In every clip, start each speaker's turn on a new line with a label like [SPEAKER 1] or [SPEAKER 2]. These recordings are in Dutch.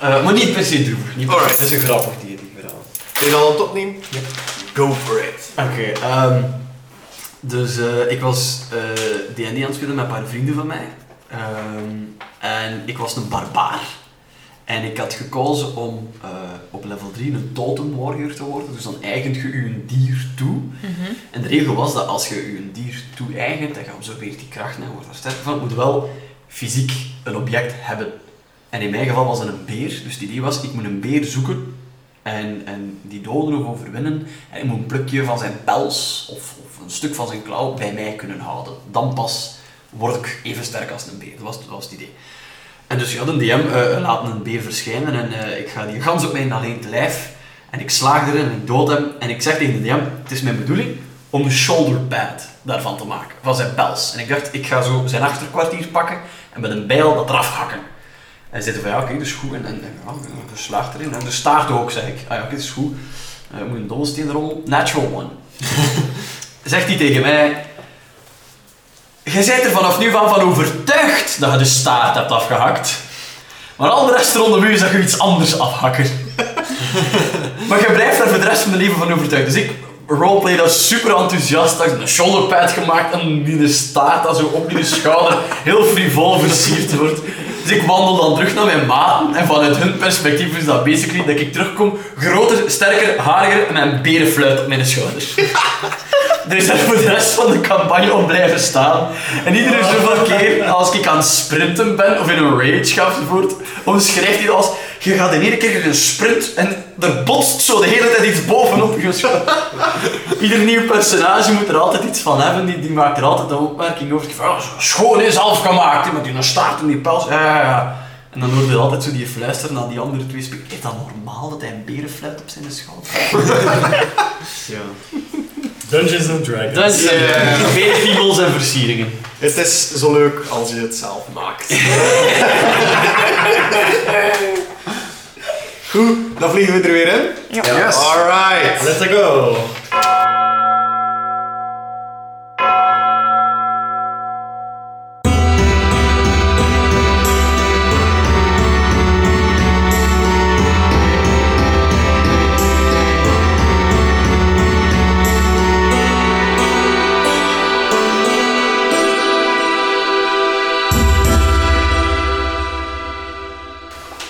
[SPEAKER 1] Eh, maar niet per se droevig. Niet per se.
[SPEAKER 2] Alright.
[SPEAKER 1] Het is een grappig dier, die verhaal.
[SPEAKER 2] Wil je dat al het opnemen?
[SPEAKER 1] Ja.
[SPEAKER 2] Go for it.
[SPEAKER 1] Oké, ehm, dus eh, ik was eh, D&D aan het spelen met een paar vrienden van mij. Ehm, en ik was een barbaar. En ik had gekozen om eh, op level 3 een totem warrior te worden. Dus dan eigent je je een dier toe.
[SPEAKER 3] Mhm.
[SPEAKER 1] En de regel was dat als je je een dier toe eigent, dan absorbeert die kracht en je wordt daar sterk van. Het moet wel fysiek een object hebben. En in mijn geval was het een beer. Dus het idee was, ik moet een beer zoeken en, en die doden of overwinnen. En ik moet een plukje van zijn pels of, of een stuk van zijn klauw bij mij kunnen houden. Dan pas word ik even sterk als een beer. Dat was, dat was het idee. En dus ja, de DM eh, laat een beer verschijnen en eh, ik ga die gans op mijn alleen te lijf. En ik slaag erin en ik dood hem. En ik zeg tegen de DM, het is mijn bedoeling om een shoulder pad daarvan te maken, van zijn pels. En ik dacht, ik ga zo zijn achterkwartier pakken en met een bijl dat eraf hakken. En ze zitten van, ja oké, dat is goed. En, en, en ja, je slaagt erin. En de staart ook, zeg ik. Ah ja, oké, dat is goed. Eh, moet een dobbelsteen rollen. Natural one. Zegt hij tegen mij, Jij bent er vanaf nu van, van overtuigd dat je de staart hebt afgehakt. Maar al de rest rondom u zag je iets anders afhakken. maar je blijft daar voor de rest van je leven van overtuigd. Dus ik roleplay dat super enthousiast. Ik een shoulderpad gemaakt en die de staart dat zo op die schouder heel frivol versierd wordt. Dus ik wandel dan terug naar mijn maten en vanuit hun perspectief is dat basically dat ik terugkom groter, sterker, hariger en mijn berenfluit op mijn schouders. Er is daar voor de rest van de campagne op blijven staan. En iedere zoveel keer als ik aan het sprinten ben of in een rage ga enzovoort, omschrijft hij dat als je gaat in één keer in een sprint en er botst zo de hele tijd iets bovenop je schouder. Ieder nieuw personage moet er altijd iets van hebben, die, die maakt er altijd een opmerking over. Van, "Ah, zo schoon is halfgemaakt, hè, met die staart en die pels. Ja, ja, ja. En dan hoorde je altijd zo die fluisteren naar die andere twee spelen. Is dat normaal dat hij een berenfluit op zijn schouder ja.
[SPEAKER 4] Dungeons and Dragons.
[SPEAKER 1] Dat is
[SPEAKER 2] Ja.
[SPEAKER 1] eh, meer piemels en versieringen.
[SPEAKER 2] Het is zo leuk als je het zelf maakt. Goed, dan vliegen we er weer in.
[SPEAKER 3] Ja.
[SPEAKER 2] Yes. Alright.
[SPEAKER 4] Let's go!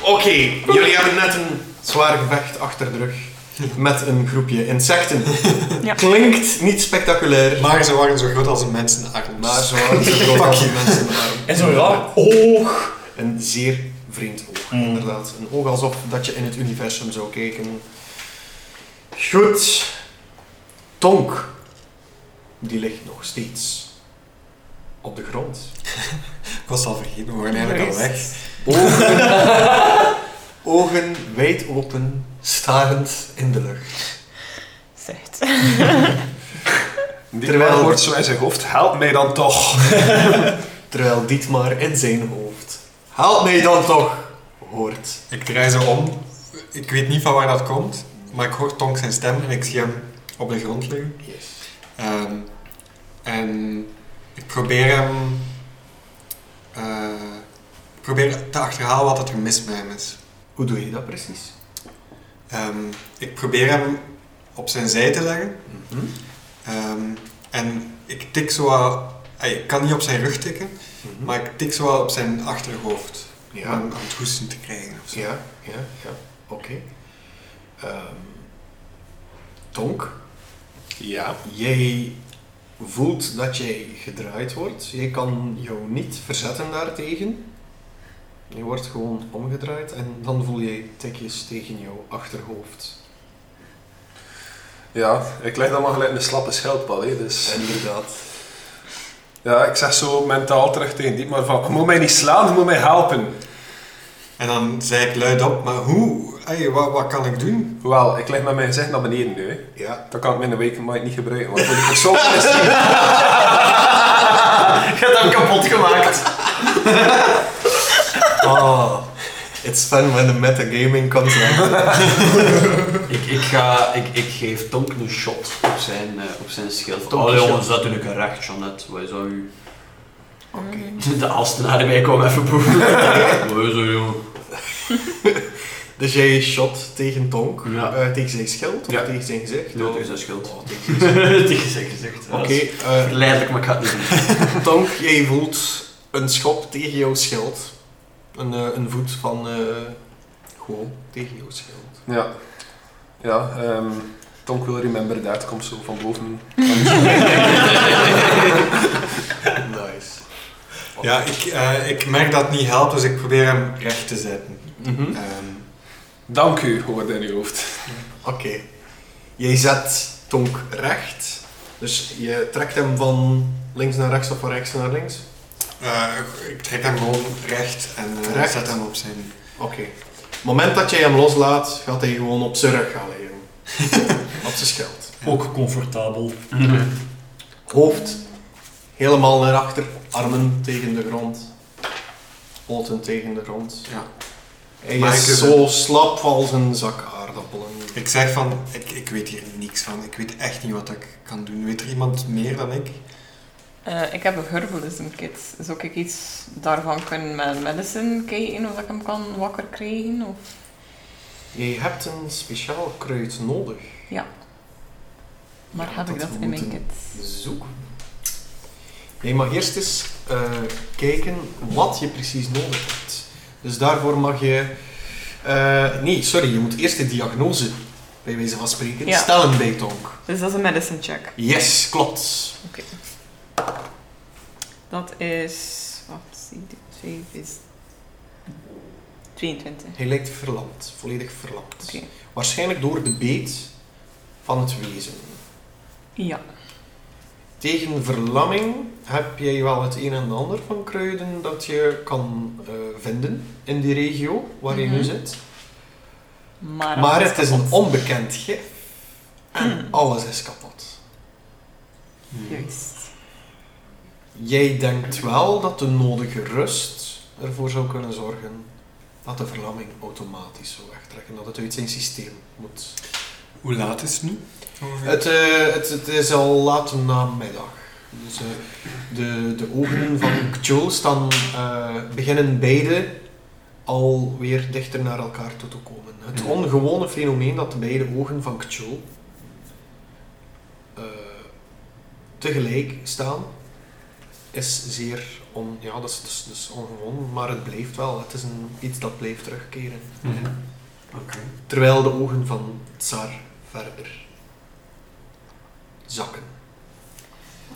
[SPEAKER 2] Oké, jullie hebben net een zwaar gevecht achter de rug. Met een groepje insecten.
[SPEAKER 3] Ja.
[SPEAKER 2] Klinkt niet spectaculair,
[SPEAKER 5] Maar ze waren zo groot als een mensenarm.
[SPEAKER 2] maar zo waren ze groot als een mensenarm.
[SPEAKER 4] En Oh. zo'n raar oog.
[SPEAKER 2] Een zeer vreemd oog,
[SPEAKER 4] Mm.
[SPEAKER 2] inderdaad. Een oog alsof dat je in het universum zou kijken. Goed. Tonk. Die ligt nog steeds op de grond.
[SPEAKER 5] Ik was al vergeten, we waren eigenlijk al weg.
[SPEAKER 2] Ogen, ogen wijd open, starend in de lucht.
[SPEAKER 3] Zegt.
[SPEAKER 5] Die
[SPEAKER 2] Terwijl-
[SPEAKER 5] Terwijl wordt zo in zijn hoofd, help mij dan toch.
[SPEAKER 2] Terwijl Dietmar in zijn hoofd. Help mij dan toch! Hoort.
[SPEAKER 5] Ik draai zo om. Ik weet niet van waar dat komt, maar ik hoor Tonk zijn stem en ik zie hem op de grond liggen.
[SPEAKER 2] Yes.
[SPEAKER 5] Ehm, en ik probeer hem. eh, ik probeer te achterhalen wat dat er mis met hem is.
[SPEAKER 2] Hoe doe je dat precies?
[SPEAKER 5] Ehm, ik probeer hem op zijn zij te leggen.
[SPEAKER 2] Mhm.
[SPEAKER 5] Ehm, en ik tik zo. wat- ey, Ik kan niet op zijn rug tikken,
[SPEAKER 2] Mhm.
[SPEAKER 5] maar ik tik zo wat op zijn achterhoofd. Om
[SPEAKER 2] Ja,
[SPEAKER 5] hem aan het hoesten te krijgen of zo.
[SPEAKER 2] ja, ja, ja. Oké. Ehm, Tonk,
[SPEAKER 5] Ja.
[SPEAKER 2] jij voelt dat jij gedraaid wordt. Jij kan jou niet verzetten daartegen. Je wordt gewoon omgedraaid en dan voel jij tikjes tegen jouw achterhoofd.
[SPEAKER 6] Ja, ik leg dan maar gelijk een slappe schildpad, hè, dus...
[SPEAKER 2] Inderdaad.
[SPEAKER 6] Ja, ik zeg zo mentaal terug tegen die, maar van, je moet mij niet slaan, je moet mij helpen.
[SPEAKER 5] En dan zei ik luidop, maar hoe? Ey, wat, wat kan ik doen?
[SPEAKER 6] Hoewel, ik leg met mijn gezicht naar beneden nu, hè.
[SPEAKER 2] Ja.
[SPEAKER 6] Dan kan ik mijn wake might niet gebruiken, want voor die consultant is het niet.
[SPEAKER 1] Je hebt hem kapot gemaakt.
[SPEAKER 2] Ah, it's fun when the metagaming comes in.
[SPEAKER 1] Ik, ik, ga, ik, ik geef Tonk een shot op zijn, eh, op zijn schild.
[SPEAKER 2] Tonk
[SPEAKER 1] Oh
[SPEAKER 2] een
[SPEAKER 1] jongens,
[SPEAKER 2] shot.
[SPEAKER 1] dat doe ik een recht, Jeannette. Wij zou u...
[SPEAKER 2] Oké.
[SPEAKER 1] De Alstenaar bij komen even proeven. Wij zou u...
[SPEAKER 2] Dus jij shot tegen Tonk,
[SPEAKER 1] Ja.
[SPEAKER 2] eh, tegen zijn schild of
[SPEAKER 6] Ja.
[SPEAKER 2] tegen zijn gezicht?
[SPEAKER 1] Ja,
[SPEAKER 2] Of-
[SPEAKER 1] tegen zijn schild.
[SPEAKER 2] Oh, tegen zijn schild.
[SPEAKER 1] Tegen zijn gezicht.
[SPEAKER 2] Oké,
[SPEAKER 1] Oké.
[SPEAKER 2] eh,
[SPEAKER 1] Verleidelijk, maar ik ga het niet doen.
[SPEAKER 2] Tonk, jij voelt een schop tegen jouw schild. Een, eh, een voet van eh, gewoon tegen jouw schild.
[SPEAKER 6] Ja. Ja, ehm Tonk will remember that komt zo van boven.
[SPEAKER 2] Nice.
[SPEAKER 5] Ja, ik, eh, ik merk dat het niet helpt, dus ik probeer hem recht te zetten.
[SPEAKER 2] Mhm.
[SPEAKER 5] Ehm,
[SPEAKER 6] Dank u, hoorde in uw hoofd.
[SPEAKER 2] Oké. Jij zet Tonk recht. Dus je trekt hem van links naar rechts of van rechts naar links.
[SPEAKER 5] eh, ik trek hem gewoon recht en eh,
[SPEAKER 2] Recht?
[SPEAKER 5] zet hem op zijn...
[SPEAKER 2] Oké. Het moment dat jij hem loslaat, gaat hij gewoon op zijn rug gaan liggen. op zijn schild.
[SPEAKER 4] Ook comfortabel.
[SPEAKER 1] Mhm.
[SPEAKER 2] Hoofd helemaal naar achter, armen tegen de grond, poten tegen de grond.
[SPEAKER 5] Ja.
[SPEAKER 2] Hij
[SPEAKER 5] Maar ik-
[SPEAKER 2] is zo slap als een zak aardappelen.
[SPEAKER 5] Ik zeg van, ik, ik weet hier niks van. Ik weet echt niet wat ik kan doen. Weet er iemand meer dan ik?
[SPEAKER 3] Eh, ik heb een herbalism kit. Zou ik iets daarvan kunnen met medicine kijken of dat ik hem kan wakker krijgen? Of...
[SPEAKER 2] Je hebt een speciaal kruid nodig.
[SPEAKER 3] Maar
[SPEAKER 2] Ja,
[SPEAKER 3] heb
[SPEAKER 2] dat
[SPEAKER 3] ik dat
[SPEAKER 2] we
[SPEAKER 3] in mijn
[SPEAKER 2] moeten.
[SPEAKER 3] kit?
[SPEAKER 2] Zoek. Je mag eerst eens eh, kijken wat je precies nodig hebt. Dus daarvoor mag je. eh, nee, sorry, je moet eerst de diagnose bij wijze van spreken
[SPEAKER 3] Ja.
[SPEAKER 2] stellen bij Tonk.
[SPEAKER 3] Dus dat is een medicine check.
[SPEAKER 2] Yes, klopt.
[SPEAKER 3] Dat is... Wat zie ik? Twee is... 22.
[SPEAKER 2] Hij lijkt verlamd, volledig verlamd.
[SPEAKER 3] Oké.
[SPEAKER 2] Waarschijnlijk door de beet van het wezen.
[SPEAKER 3] Ja.
[SPEAKER 2] Tegen verlamming heb jij wel het een en ander van kruiden dat je kan eh, vinden in die regio waar je nu
[SPEAKER 3] Mhm.
[SPEAKER 2] zit.
[SPEAKER 3] Maar, dat
[SPEAKER 2] Maar het is een
[SPEAKER 3] kapot.
[SPEAKER 2] onbekend gif. En alles is kapot.
[SPEAKER 3] Juist.
[SPEAKER 2] Jij denkt wel dat de nodige rust ervoor zou kunnen zorgen dat de verlamming automatisch zou wegtrekken. Dat het uit zijn systeem moet.
[SPEAKER 5] Hoe laat is het nu? Ongeveer?
[SPEAKER 2] Het, eh, het, het is al laat namiddag. Dus, eh, de, de ogen van Cthulhu staan, eh, beginnen beide alweer dichter naar elkaar toe te komen. Het
[SPEAKER 1] Mhm.
[SPEAKER 2] ongewone fenomeen dat de beide ogen van Cthulhu eh, tegelijk staan, is zeer on, ja, dat is, dat is- dat is ongewoon, maar het blijft wel. Het is een, iets dat blijft terugkeren.
[SPEAKER 1] Mhm. Oké.
[SPEAKER 2] Terwijl de ogen van Tsar verder zakken.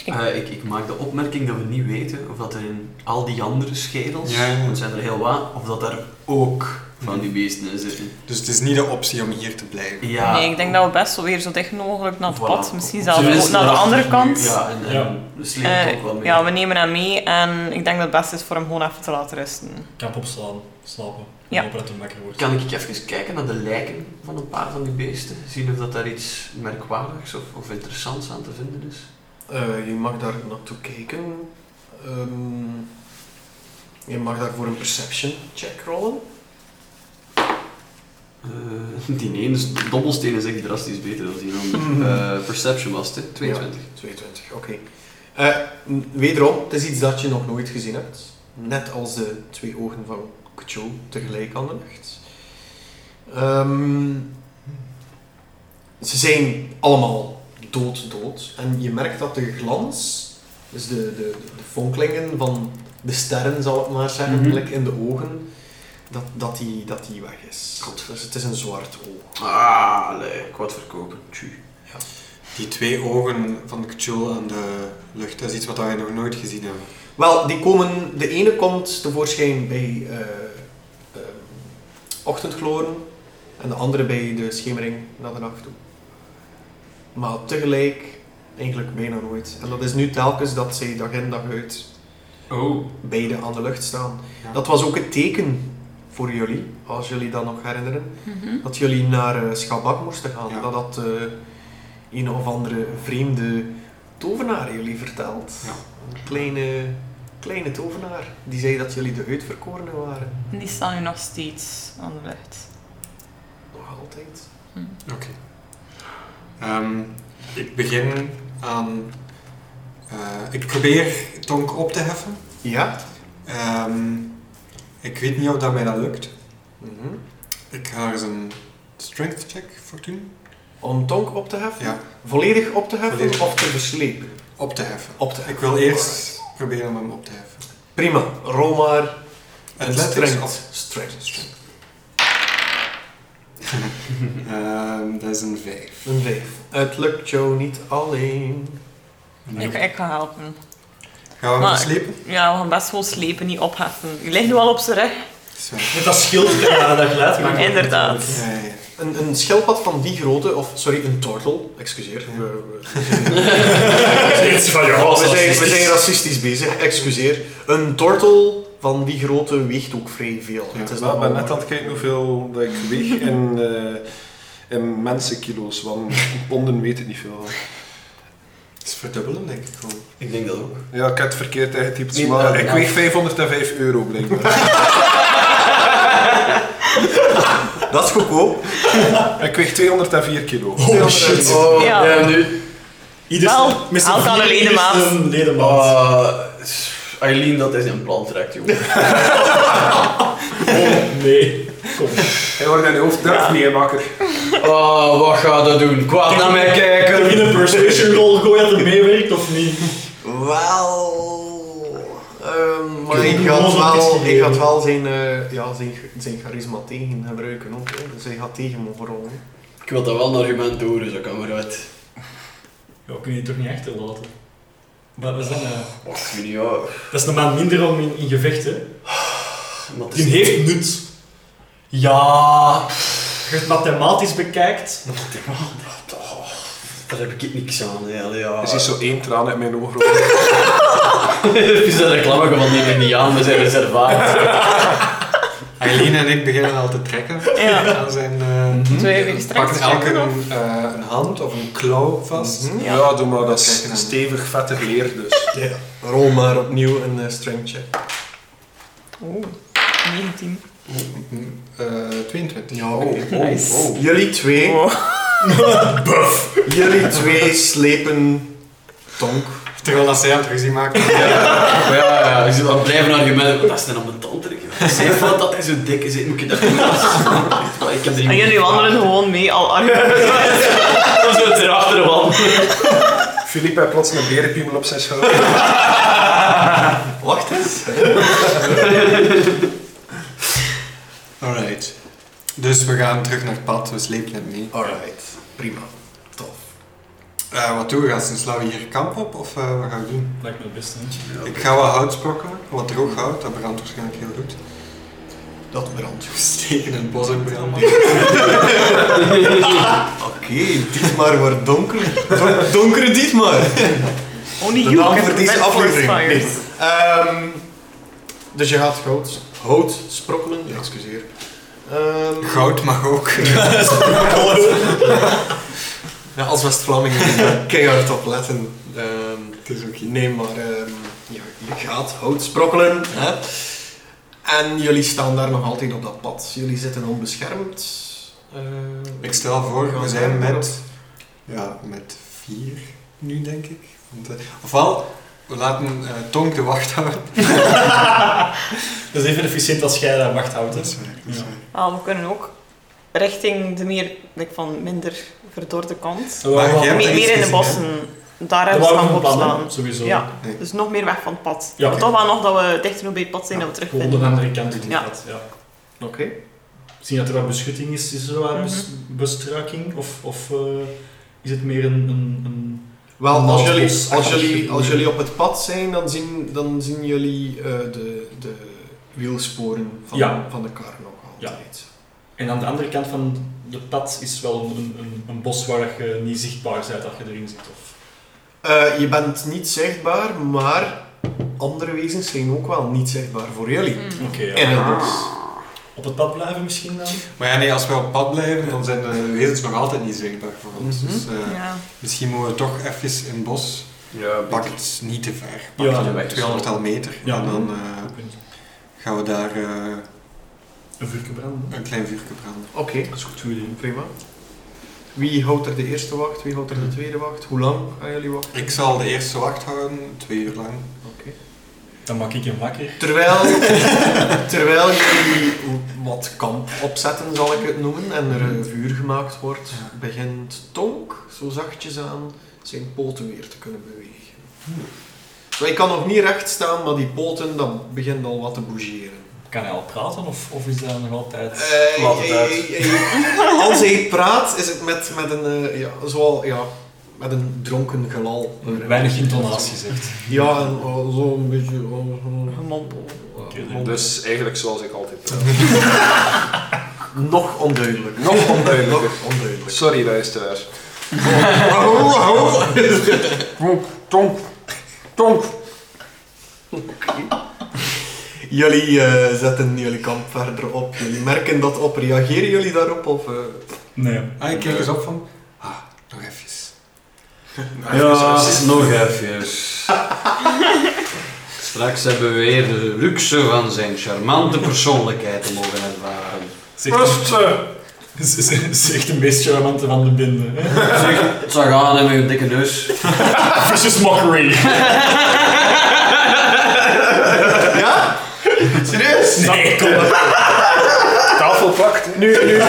[SPEAKER 3] Ik-
[SPEAKER 1] Eh, ik, ik maak de opmerking dat we niet weten of dat er in al die andere schedels,
[SPEAKER 5] Ja, ja.
[SPEAKER 1] want zijn er heel wat, of dat daar ook van die beesten in zitten.
[SPEAKER 5] Dus het is niet de optie om hier te blijven.
[SPEAKER 1] Ja.
[SPEAKER 3] Nee, ik denk dat we best wel weer zo dicht mogelijk naar het
[SPEAKER 1] Voilà.
[SPEAKER 3] pad. Misschien
[SPEAKER 1] Op-
[SPEAKER 3] zelfs
[SPEAKER 1] Tenminste,
[SPEAKER 3] ook naar de
[SPEAKER 1] dat-
[SPEAKER 3] andere kant.
[SPEAKER 1] Ja, en, en
[SPEAKER 4] Ja.
[SPEAKER 1] we slepen het
[SPEAKER 3] Eh,
[SPEAKER 1] ook wel mee.
[SPEAKER 3] ja, we nemen hem mee en ik denk dat het best is voor hem gewoon even te laten rusten.
[SPEAKER 4] Kap opslaan, slapen.
[SPEAKER 3] Ja.
[SPEAKER 4] En hopen dat hij wakker wordt.
[SPEAKER 1] Kan ik even kijken naar de lijken van een paar van die beesten? Zien of dat daar iets merkwaardigs of, of interessants aan te vinden is?
[SPEAKER 2] Eh, je mag daar naartoe kijken. Ehm, je mag daarvoor een perception check rollen.
[SPEAKER 1] Eh, die ene is- de dobbelsteen is echt drastisch beter dan die andere. Eh, perception was het, hè? 22.
[SPEAKER 2] 22, oké. Eh, n- wederom, het is iets dat je nog nooit gezien hebt. Net als de twee ogen van Kucho tegelijk aan de lucht. Ehm, ze zijn allemaal dood-dood. En je merkt dat de glans, dus de, de, de fonkelingen van de sterren, zal ik maar zeggen,
[SPEAKER 1] Mhm.
[SPEAKER 2] like in de ogen, dat, dat, die, dat die weg is.
[SPEAKER 1] Godver.
[SPEAKER 2] Dus het is een zwart oog.
[SPEAKER 1] Ah, nee, ik wou het verkopen. Tju.
[SPEAKER 5] Die twee ogen van Cthulhu aan de lucht, dat is iets wat wij nog nooit gezien hebben.
[SPEAKER 2] Wel, die komen, de ene komt tevoorschijn bij eh ehm, ochtendgloren en de andere bij de schemering naar de nacht toe. Maar tegelijk eigenlijk bijna nooit. En dat is nu telkens dat zij dag in dag uit
[SPEAKER 1] Oh.
[SPEAKER 2] beide aan de lucht staan.
[SPEAKER 5] Ja.
[SPEAKER 2] Dat was ook het teken voor jullie, als jullie dat nog herinneren, dat jullie naar eh Schabak moesten gaan.
[SPEAKER 5] Ja.
[SPEAKER 2] Dat had eh, een of andere vreemde tovenaar jullie verteld.
[SPEAKER 5] Ja.
[SPEAKER 2] Een kleine, kleine tovenaar die zei dat jullie de uitverkorenen waren.
[SPEAKER 3] En die staan nu nog steeds aan de lucht.
[SPEAKER 2] Nog altijd.
[SPEAKER 5] Ehm, ik begin aan... eh, ik probeer Tonk op te heffen.
[SPEAKER 2] Ja,
[SPEAKER 5] Ehm, ik weet niet of dat mij dat lukt.
[SPEAKER 2] Mhm.
[SPEAKER 5] Ik ga eens een strength check voor doen.
[SPEAKER 2] Om Tonk op te heffen?
[SPEAKER 5] Ja.
[SPEAKER 2] Volledig op te heffen
[SPEAKER 5] Volledig.
[SPEAKER 2] of te verslepen?
[SPEAKER 5] Op te heffen.
[SPEAKER 2] Op te heffen.
[SPEAKER 5] Ik wil eerst
[SPEAKER 2] Alright.
[SPEAKER 5] proberen om hem op te heffen.
[SPEAKER 2] Prima. Rol maar een
[SPEAKER 5] Athletics
[SPEAKER 2] strength.
[SPEAKER 5] of-
[SPEAKER 2] Strength.
[SPEAKER 5] Ehm, dat is een 5.
[SPEAKER 2] Een 5. Het lukt jou niet alleen.
[SPEAKER 3] Ik, ik ga helpen.
[SPEAKER 5] Gaan we hem
[SPEAKER 3] Maar-
[SPEAKER 5] slepen?
[SPEAKER 3] Ja, we gaan best wel slepen, niet opheffen. Je ligt nu al op z'n rug.
[SPEAKER 5] Zo.
[SPEAKER 4] Met dat schild dat je een dag later maakt.
[SPEAKER 3] Inderdaad.
[SPEAKER 5] Ja, ja, ja.
[SPEAKER 2] Een, een schildpad van die grootte, of sorry, een tortel, excuseer. We, we- we zijn-
[SPEAKER 4] Iets van je
[SPEAKER 2] we, zijn, we zijn racistisch bezig, excuseer. Een tortel van die grootte weegt ook vrij veel.
[SPEAKER 5] Ja,
[SPEAKER 2] het is
[SPEAKER 6] Ja, ik ben
[SPEAKER 2] nogal-
[SPEAKER 6] net aan het kijken hoeveel dat ik weeg in, eh in mensenkilo's, want ponden weten niet veel.
[SPEAKER 5] Het is verdubbelen, denk ik gewoon.
[SPEAKER 1] Ik denk dat ook.
[SPEAKER 6] Ja, ik heb het verkeerd ingetypt,
[SPEAKER 1] Nee,
[SPEAKER 6] maar
[SPEAKER 1] eh,
[SPEAKER 6] ik
[SPEAKER 1] nou.
[SPEAKER 6] weeg 505 euro blijkbaar.
[SPEAKER 2] Dat is goedkoop.
[SPEAKER 6] ik weeg 204 kilo.
[SPEAKER 4] Oh shit.
[SPEAKER 2] Oh,
[SPEAKER 3] Ja.
[SPEAKER 1] Ja, nu. Ieder
[SPEAKER 3] Wel,
[SPEAKER 1] Mr.
[SPEAKER 3] haal dan een
[SPEAKER 1] Vier,
[SPEAKER 3] ledemaat.
[SPEAKER 1] ieder
[SPEAKER 4] Een ledenmaat.
[SPEAKER 1] Ah, Eileen, dat is een plan trekt, jongen.
[SPEAKER 4] Oh nee. Kom.
[SPEAKER 6] Hij wordt in je hoofd durf niet, hè, makker.
[SPEAKER 1] Oh, wat gaat dat doen? Kwaad naar mij
[SPEAKER 4] Kun je
[SPEAKER 1] kijken.
[SPEAKER 4] een persuasion roll gooien dat er meewerkt of niet?
[SPEAKER 2] Wel. ehm, maar
[SPEAKER 4] Ik
[SPEAKER 2] hij
[SPEAKER 4] wil
[SPEAKER 2] gaat,
[SPEAKER 4] gewoon
[SPEAKER 2] wel,
[SPEAKER 4] wat
[SPEAKER 2] hij gaat
[SPEAKER 4] discussiëren.
[SPEAKER 2] wel zijn, eh, ja, zijn, zijn charisma tegen gebruiken ook. Hè. Dus hij gaat tegen me verrollen.
[SPEAKER 1] Ik wil dat wel een argument horen, zo kan maar uit.
[SPEAKER 4] Ja, kun je die toch niet echt laten? Maar dat is, dan, eh,
[SPEAKER 1] Wacht, ik weet niet, ja.
[SPEAKER 4] dat is normaal minder om in, in gevecht, hè.
[SPEAKER 1] Maar het
[SPEAKER 4] Die
[SPEAKER 1] is-
[SPEAKER 4] heeft nut. Ja, als je het mathematisch bekijkt.
[SPEAKER 1] Oh, Daar heb ik niks aan, hè. Allee, ja.
[SPEAKER 6] Er is zo één traan uit mijn ogen. rollen.
[SPEAKER 1] Het is een reclame van neem ik niet aan, we zijn reservaat.
[SPEAKER 5] Eileen en ik beginnen al te trekken.
[SPEAKER 3] Ja. Mhm.
[SPEAKER 5] Dan zijn... eh,
[SPEAKER 3] Twee hebben
[SPEAKER 5] pakken
[SPEAKER 3] gestrekt.
[SPEAKER 5] elke een, eh, een hand of een klauw vast.
[SPEAKER 6] Ja. doe maar, Mhm. dat is
[SPEAKER 5] Kijk dan.
[SPEAKER 6] stevig vettig leer dus.
[SPEAKER 2] Rol maar opnieuw een eh, strength check.
[SPEAKER 3] Oeh, 19.
[SPEAKER 5] Eh, 22.
[SPEAKER 2] Ja, oké.
[SPEAKER 5] oh.
[SPEAKER 3] Nice.
[SPEAKER 2] Jullie twee,
[SPEAKER 3] Oh.
[SPEAKER 2] jullie twee slepen Tonk.
[SPEAKER 5] Terwijl dat zij aan het ruzie maken.
[SPEAKER 1] Maar ja, ja, ik zit aan het blijven argumenten. Dat is dan op mijn tand trekken. Zeg van dat hij zo dik is, hè. moet je dat doen? Ik heb er
[SPEAKER 3] En jullie wandelen gewoon mee, al arm. Oh,
[SPEAKER 1] gewoon zo erachter wandelen.
[SPEAKER 6] Philippe heeft plots een berenpiemel op zijn schouder.
[SPEAKER 2] Wacht eens.
[SPEAKER 5] Alright. Dus we gaan terug naar het pad, we slepen het mee.
[SPEAKER 2] Alright, prima. Tof.
[SPEAKER 5] Eh, wat doen we? Gaan ze slaan we hier kamp op of eh, wat gaan we doen?
[SPEAKER 4] Lijkt me het beste. hè.
[SPEAKER 5] Ik ga wat hout sprokkelen, wat droog hout, dat brandt waarschijnlijk heel goed.
[SPEAKER 2] Dat brandt.
[SPEAKER 5] Steken in het bos en branden.
[SPEAKER 2] Oké, dit maar wordt donker. Don- Donkere dit maar.
[SPEAKER 3] Only
[SPEAKER 2] De
[SPEAKER 3] you
[SPEAKER 2] naam
[SPEAKER 3] can
[SPEAKER 2] voor deze
[SPEAKER 3] prevent forest
[SPEAKER 2] aflevering.
[SPEAKER 3] fires.
[SPEAKER 2] Ehm, dus je gaat goud, hout sprokkelen. Ja, excuseer. Ehm,
[SPEAKER 5] Goud mag ook.
[SPEAKER 2] Ja, als West-Vlamingen eh, keihard opletten. Ehm het is ook nee, maar ehm, ja, je gaat hout sprokkelen. Hè? En jullie staan daar nog altijd op dat pad. Jullie zitten onbeschermd. Ehm,
[SPEAKER 5] ik stel voor, we
[SPEAKER 2] gaan
[SPEAKER 5] zijn
[SPEAKER 2] verder.
[SPEAKER 5] met, ja, met vier nu denk ik. Want, eh, ofwel, we laten eh, Tonk de wacht houden.
[SPEAKER 4] Dat is even efficiënt als jij daar wacht houdt. hè.
[SPEAKER 5] waar,
[SPEAKER 4] Ja.
[SPEAKER 3] Ah, we kunnen ook richting de meer like, van minder verdorde kant.
[SPEAKER 4] Zo,
[SPEAKER 5] Maar
[SPEAKER 4] wat-
[SPEAKER 5] jij-
[SPEAKER 3] Meer,
[SPEAKER 5] hebt iets
[SPEAKER 3] meer in de
[SPEAKER 5] gezien,
[SPEAKER 3] bossen. Daar
[SPEAKER 4] Dat
[SPEAKER 3] hebben ze
[SPEAKER 4] waren
[SPEAKER 3] gaan
[SPEAKER 4] we van plan, hè,
[SPEAKER 3] opslaan.
[SPEAKER 4] sowieso.
[SPEAKER 3] Ja,
[SPEAKER 5] Nee.
[SPEAKER 3] dus nog meer weg van het pad.
[SPEAKER 4] Ja.
[SPEAKER 3] Maar Toch wel nog dat we dichter bij het pad zijn
[SPEAKER 4] Ja,
[SPEAKER 3] dat we terug
[SPEAKER 4] Gewoon de
[SPEAKER 3] vinden.
[SPEAKER 4] andere kant op
[SPEAKER 3] Ja.
[SPEAKER 4] ja.
[SPEAKER 2] Oké.
[SPEAKER 4] Zien dat er wat beschutting is, is er wat
[SPEAKER 3] Mhm.
[SPEAKER 4] bes- bestruiking? Of, of eh, is het meer een... een, een...
[SPEAKER 2] Wel, als
[SPEAKER 4] Nou,
[SPEAKER 2] jullie,
[SPEAKER 4] ons-
[SPEAKER 2] als, jullie, als
[SPEAKER 4] Ja.
[SPEAKER 2] jullie op het pad zijn, dan zien, dan zien jullie eh, de, de wielsporen van,
[SPEAKER 4] Ja.
[SPEAKER 2] van de kar nog
[SPEAKER 4] Ja.
[SPEAKER 2] altijd.
[SPEAKER 4] En aan de andere kant van het pad is wel een, een, een, een bos waar je niet zichtbaar bent dat je erin zit. Of...
[SPEAKER 2] Eh, je bent niet zichtbaar, maar andere wezens zijn ook wel niet zichtbaar voor jullie.
[SPEAKER 4] Oké,
[SPEAKER 3] Mm.
[SPEAKER 4] ja.
[SPEAKER 2] In het bos.
[SPEAKER 4] Op het pad blijven misschien dan?
[SPEAKER 5] Maar ja, nee, als we op pad blijven, dan zijn de wezens nog altijd niet zichtbaar voor ons.
[SPEAKER 2] Mhm.
[SPEAKER 5] Dus eh,
[SPEAKER 3] Ja.
[SPEAKER 5] misschien moeten we toch even in het bos.
[SPEAKER 1] Ja,
[SPEAKER 5] Pak het niet te ver. Pak
[SPEAKER 4] Ja.
[SPEAKER 5] het 200 al meter.
[SPEAKER 4] Ja.
[SPEAKER 5] En dan eh, gaan we daar eh,
[SPEAKER 4] Een vuurtje branden.
[SPEAKER 5] een klein vuurtje branden.
[SPEAKER 2] Oké,
[SPEAKER 4] Dat is goed voor jullie.
[SPEAKER 2] prima. Wie houdt er de eerste wacht, wie houdt er de tweede wacht? Hoe lang gaan jullie wachten?
[SPEAKER 5] Ik zal de eerste wacht houden, twee uur lang.
[SPEAKER 2] Oké.
[SPEAKER 4] Dan maak ik hem wakker.
[SPEAKER 2] Terwijl, terwijl jullie wat kamp opzetten, zal ik het noemen, en er eh, vuur gemaakt wordt, begint Tonk zo zachtjes aan zijn poten weer te kunnen bewegen.
[SPEAKER 4] Hm.
[SPEAKER 2] Zo, Hij kan nog niet recht staan, maar die poten, dat begint al wat te bougeren.
[SPEAKER 4] Kan hij al praten of, of is dat nog altijd...
[SPEAKER 2] Eh,
[SPEAKER 4] Laat het
[SPEAKER 2] eh,
[SPEAKER 4] uit.
[SPEAKER 2] eh, eh, Als hij praat, is het met, met, een, eh, ja, zoal, ja, met een dronken gelal.
[SPEAKER 1] Eh,
[SPEAKER 4] Weinig intonatie zegt.
[SPEAKER 2] Ja, en eh, zo een beetje... eh,
[SPEAKER 3] Gemompel.
[SPEAKER 4] Oké,
[SPEAKER 6] Dus eigenlijk zoals ik altijd praat.
[SPEAKER 2] eh, nog onduidelijk.
[SPEAKER 6] Nog onduidelijker.
[SPEAKER 2] Nog onduidelijk.
[SPEAKER 6] Sorry, luisteraar. Tonk, tonk, tonk.
[SPEAKER 2] Jullie eh, zetten jullie kamp verder op. Jullie merken dat op. Reageren jullie daarop? Of, eh?
[SPEAKER 4] Nee.
[SPEAKER 5] Ah, ik kijk eens op van... Ah, nog eventjes.
[SPEAKER 1] Ja, nog even. Straks hebben we weer de luxe van zijn charmante persoonlijkheid te mogen ervaren.
[SPEAKER 4] Zegt,
[SPEAKER 6] eh,
[SPEAKER 4] zegt de meest charmante van de binden. hè.
[SPEAKER 1] Zeg, het zag aan hè, met je dikke neus.
[SPEAKER 4] Vicious mockery.
[SPEAKER 2] Ja? Serieus?
[SPEAKER 4] Nee, kom
[SPEAKER 6] Tafelpakt.
[SPEAKER 2] Nu, nu,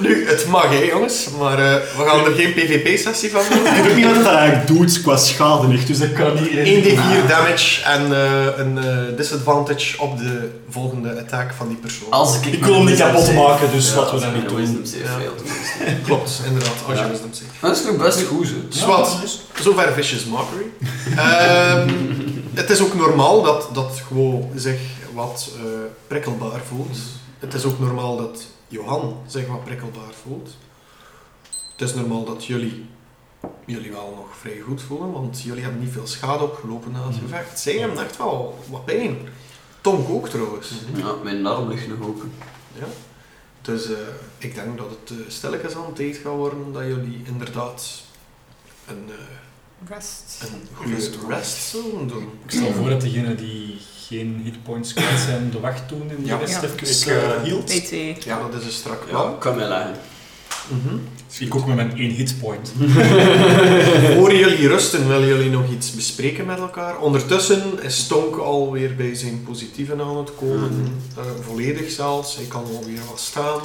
[SPEAKER 2] nu, het mag hè jongens, maar eh, we gaan er geen PvP-sessie van doen.
[SPEAKER 4] Ik weet niet wat dat eigenlijk doet qua schade niet, dus dat kan niet.
[SPEAKER 2] 1d4 damage en eh, een eh, disadvantage op de volgende attack van die persoon.
[SPEAKER 1] Als ik,
[SPEAKER 4] Ik wil hem niet kapot maken, dus
[SPEAKER 1] Ja,
[SPEAKER 4] laten
[SPEAKER 1] als
[SPEAKER 4] we dat
[SPEAKER 1] ik
[SPEAKER 4] niet
[SPEAKER 1] een
[SPEAKER 4] doen.
[SPEAKER 1] wisdom save fail doe.
[SPEAKER 2] Klopt, inderdaad, als je wisdom zegt.
[SPEAKER 1] Dat is toch best goed, hè?
[SPEAKER 2] Dus wat, zover Vicious Mockery. Ehm, het is ook normaal dat, dat gewoon zich wat eh, prikkelbaar voelt. Het is ook normaal dat Johan zich wat prikkelbaar voelt. Het is normaal dat jullie jullie wel nog vrij goed voelen, want jullie hebben niet veel schade opgelopen na het gevecht. Zij hebben echt wel wat pijn. Tonk ook trouwens.
[SPEAKER 1] Ja, mijn arm ligt nog open.
[SPEAKER 2] Ja. Dus eh, ik denk dat het eh stilletjes aan tijd gaat worden dat jullie inderdaad een... eh,
[SPEAKER 3] Rest.
[SPEAKER 2] een goede rest zullen doen.
[SPEAKER 4] Ik stel voor dat degenen die geen hitpoints kwijt zijn, de wacht doen en de
[SPEAKER 5] Ja.
[SPEAKER 4] rest
[SPEAKER 3] Ja.
[SPEAKER 4] even eh, hield.
[SPEAKER 3] PT.
[SPEAKER 2] Ja, dat is een strak
[SPEAKER 1] Ja,
[SPEAKER 2] plan.
[SPEAKER 1] kan mij leggen.
[SPEAKER 2] Mhm.
[SPEAKER 4] Dus Ik ook met mijn één hitpoint.
[SPEAKER 2] Voor jullie rusten willen jullie nog iets bespreken met elkaar. Ondertussen is Tonk alweer bij zijn positieven aan het komen. Eh, volledig zelfs. Hij kan alweer wat staan.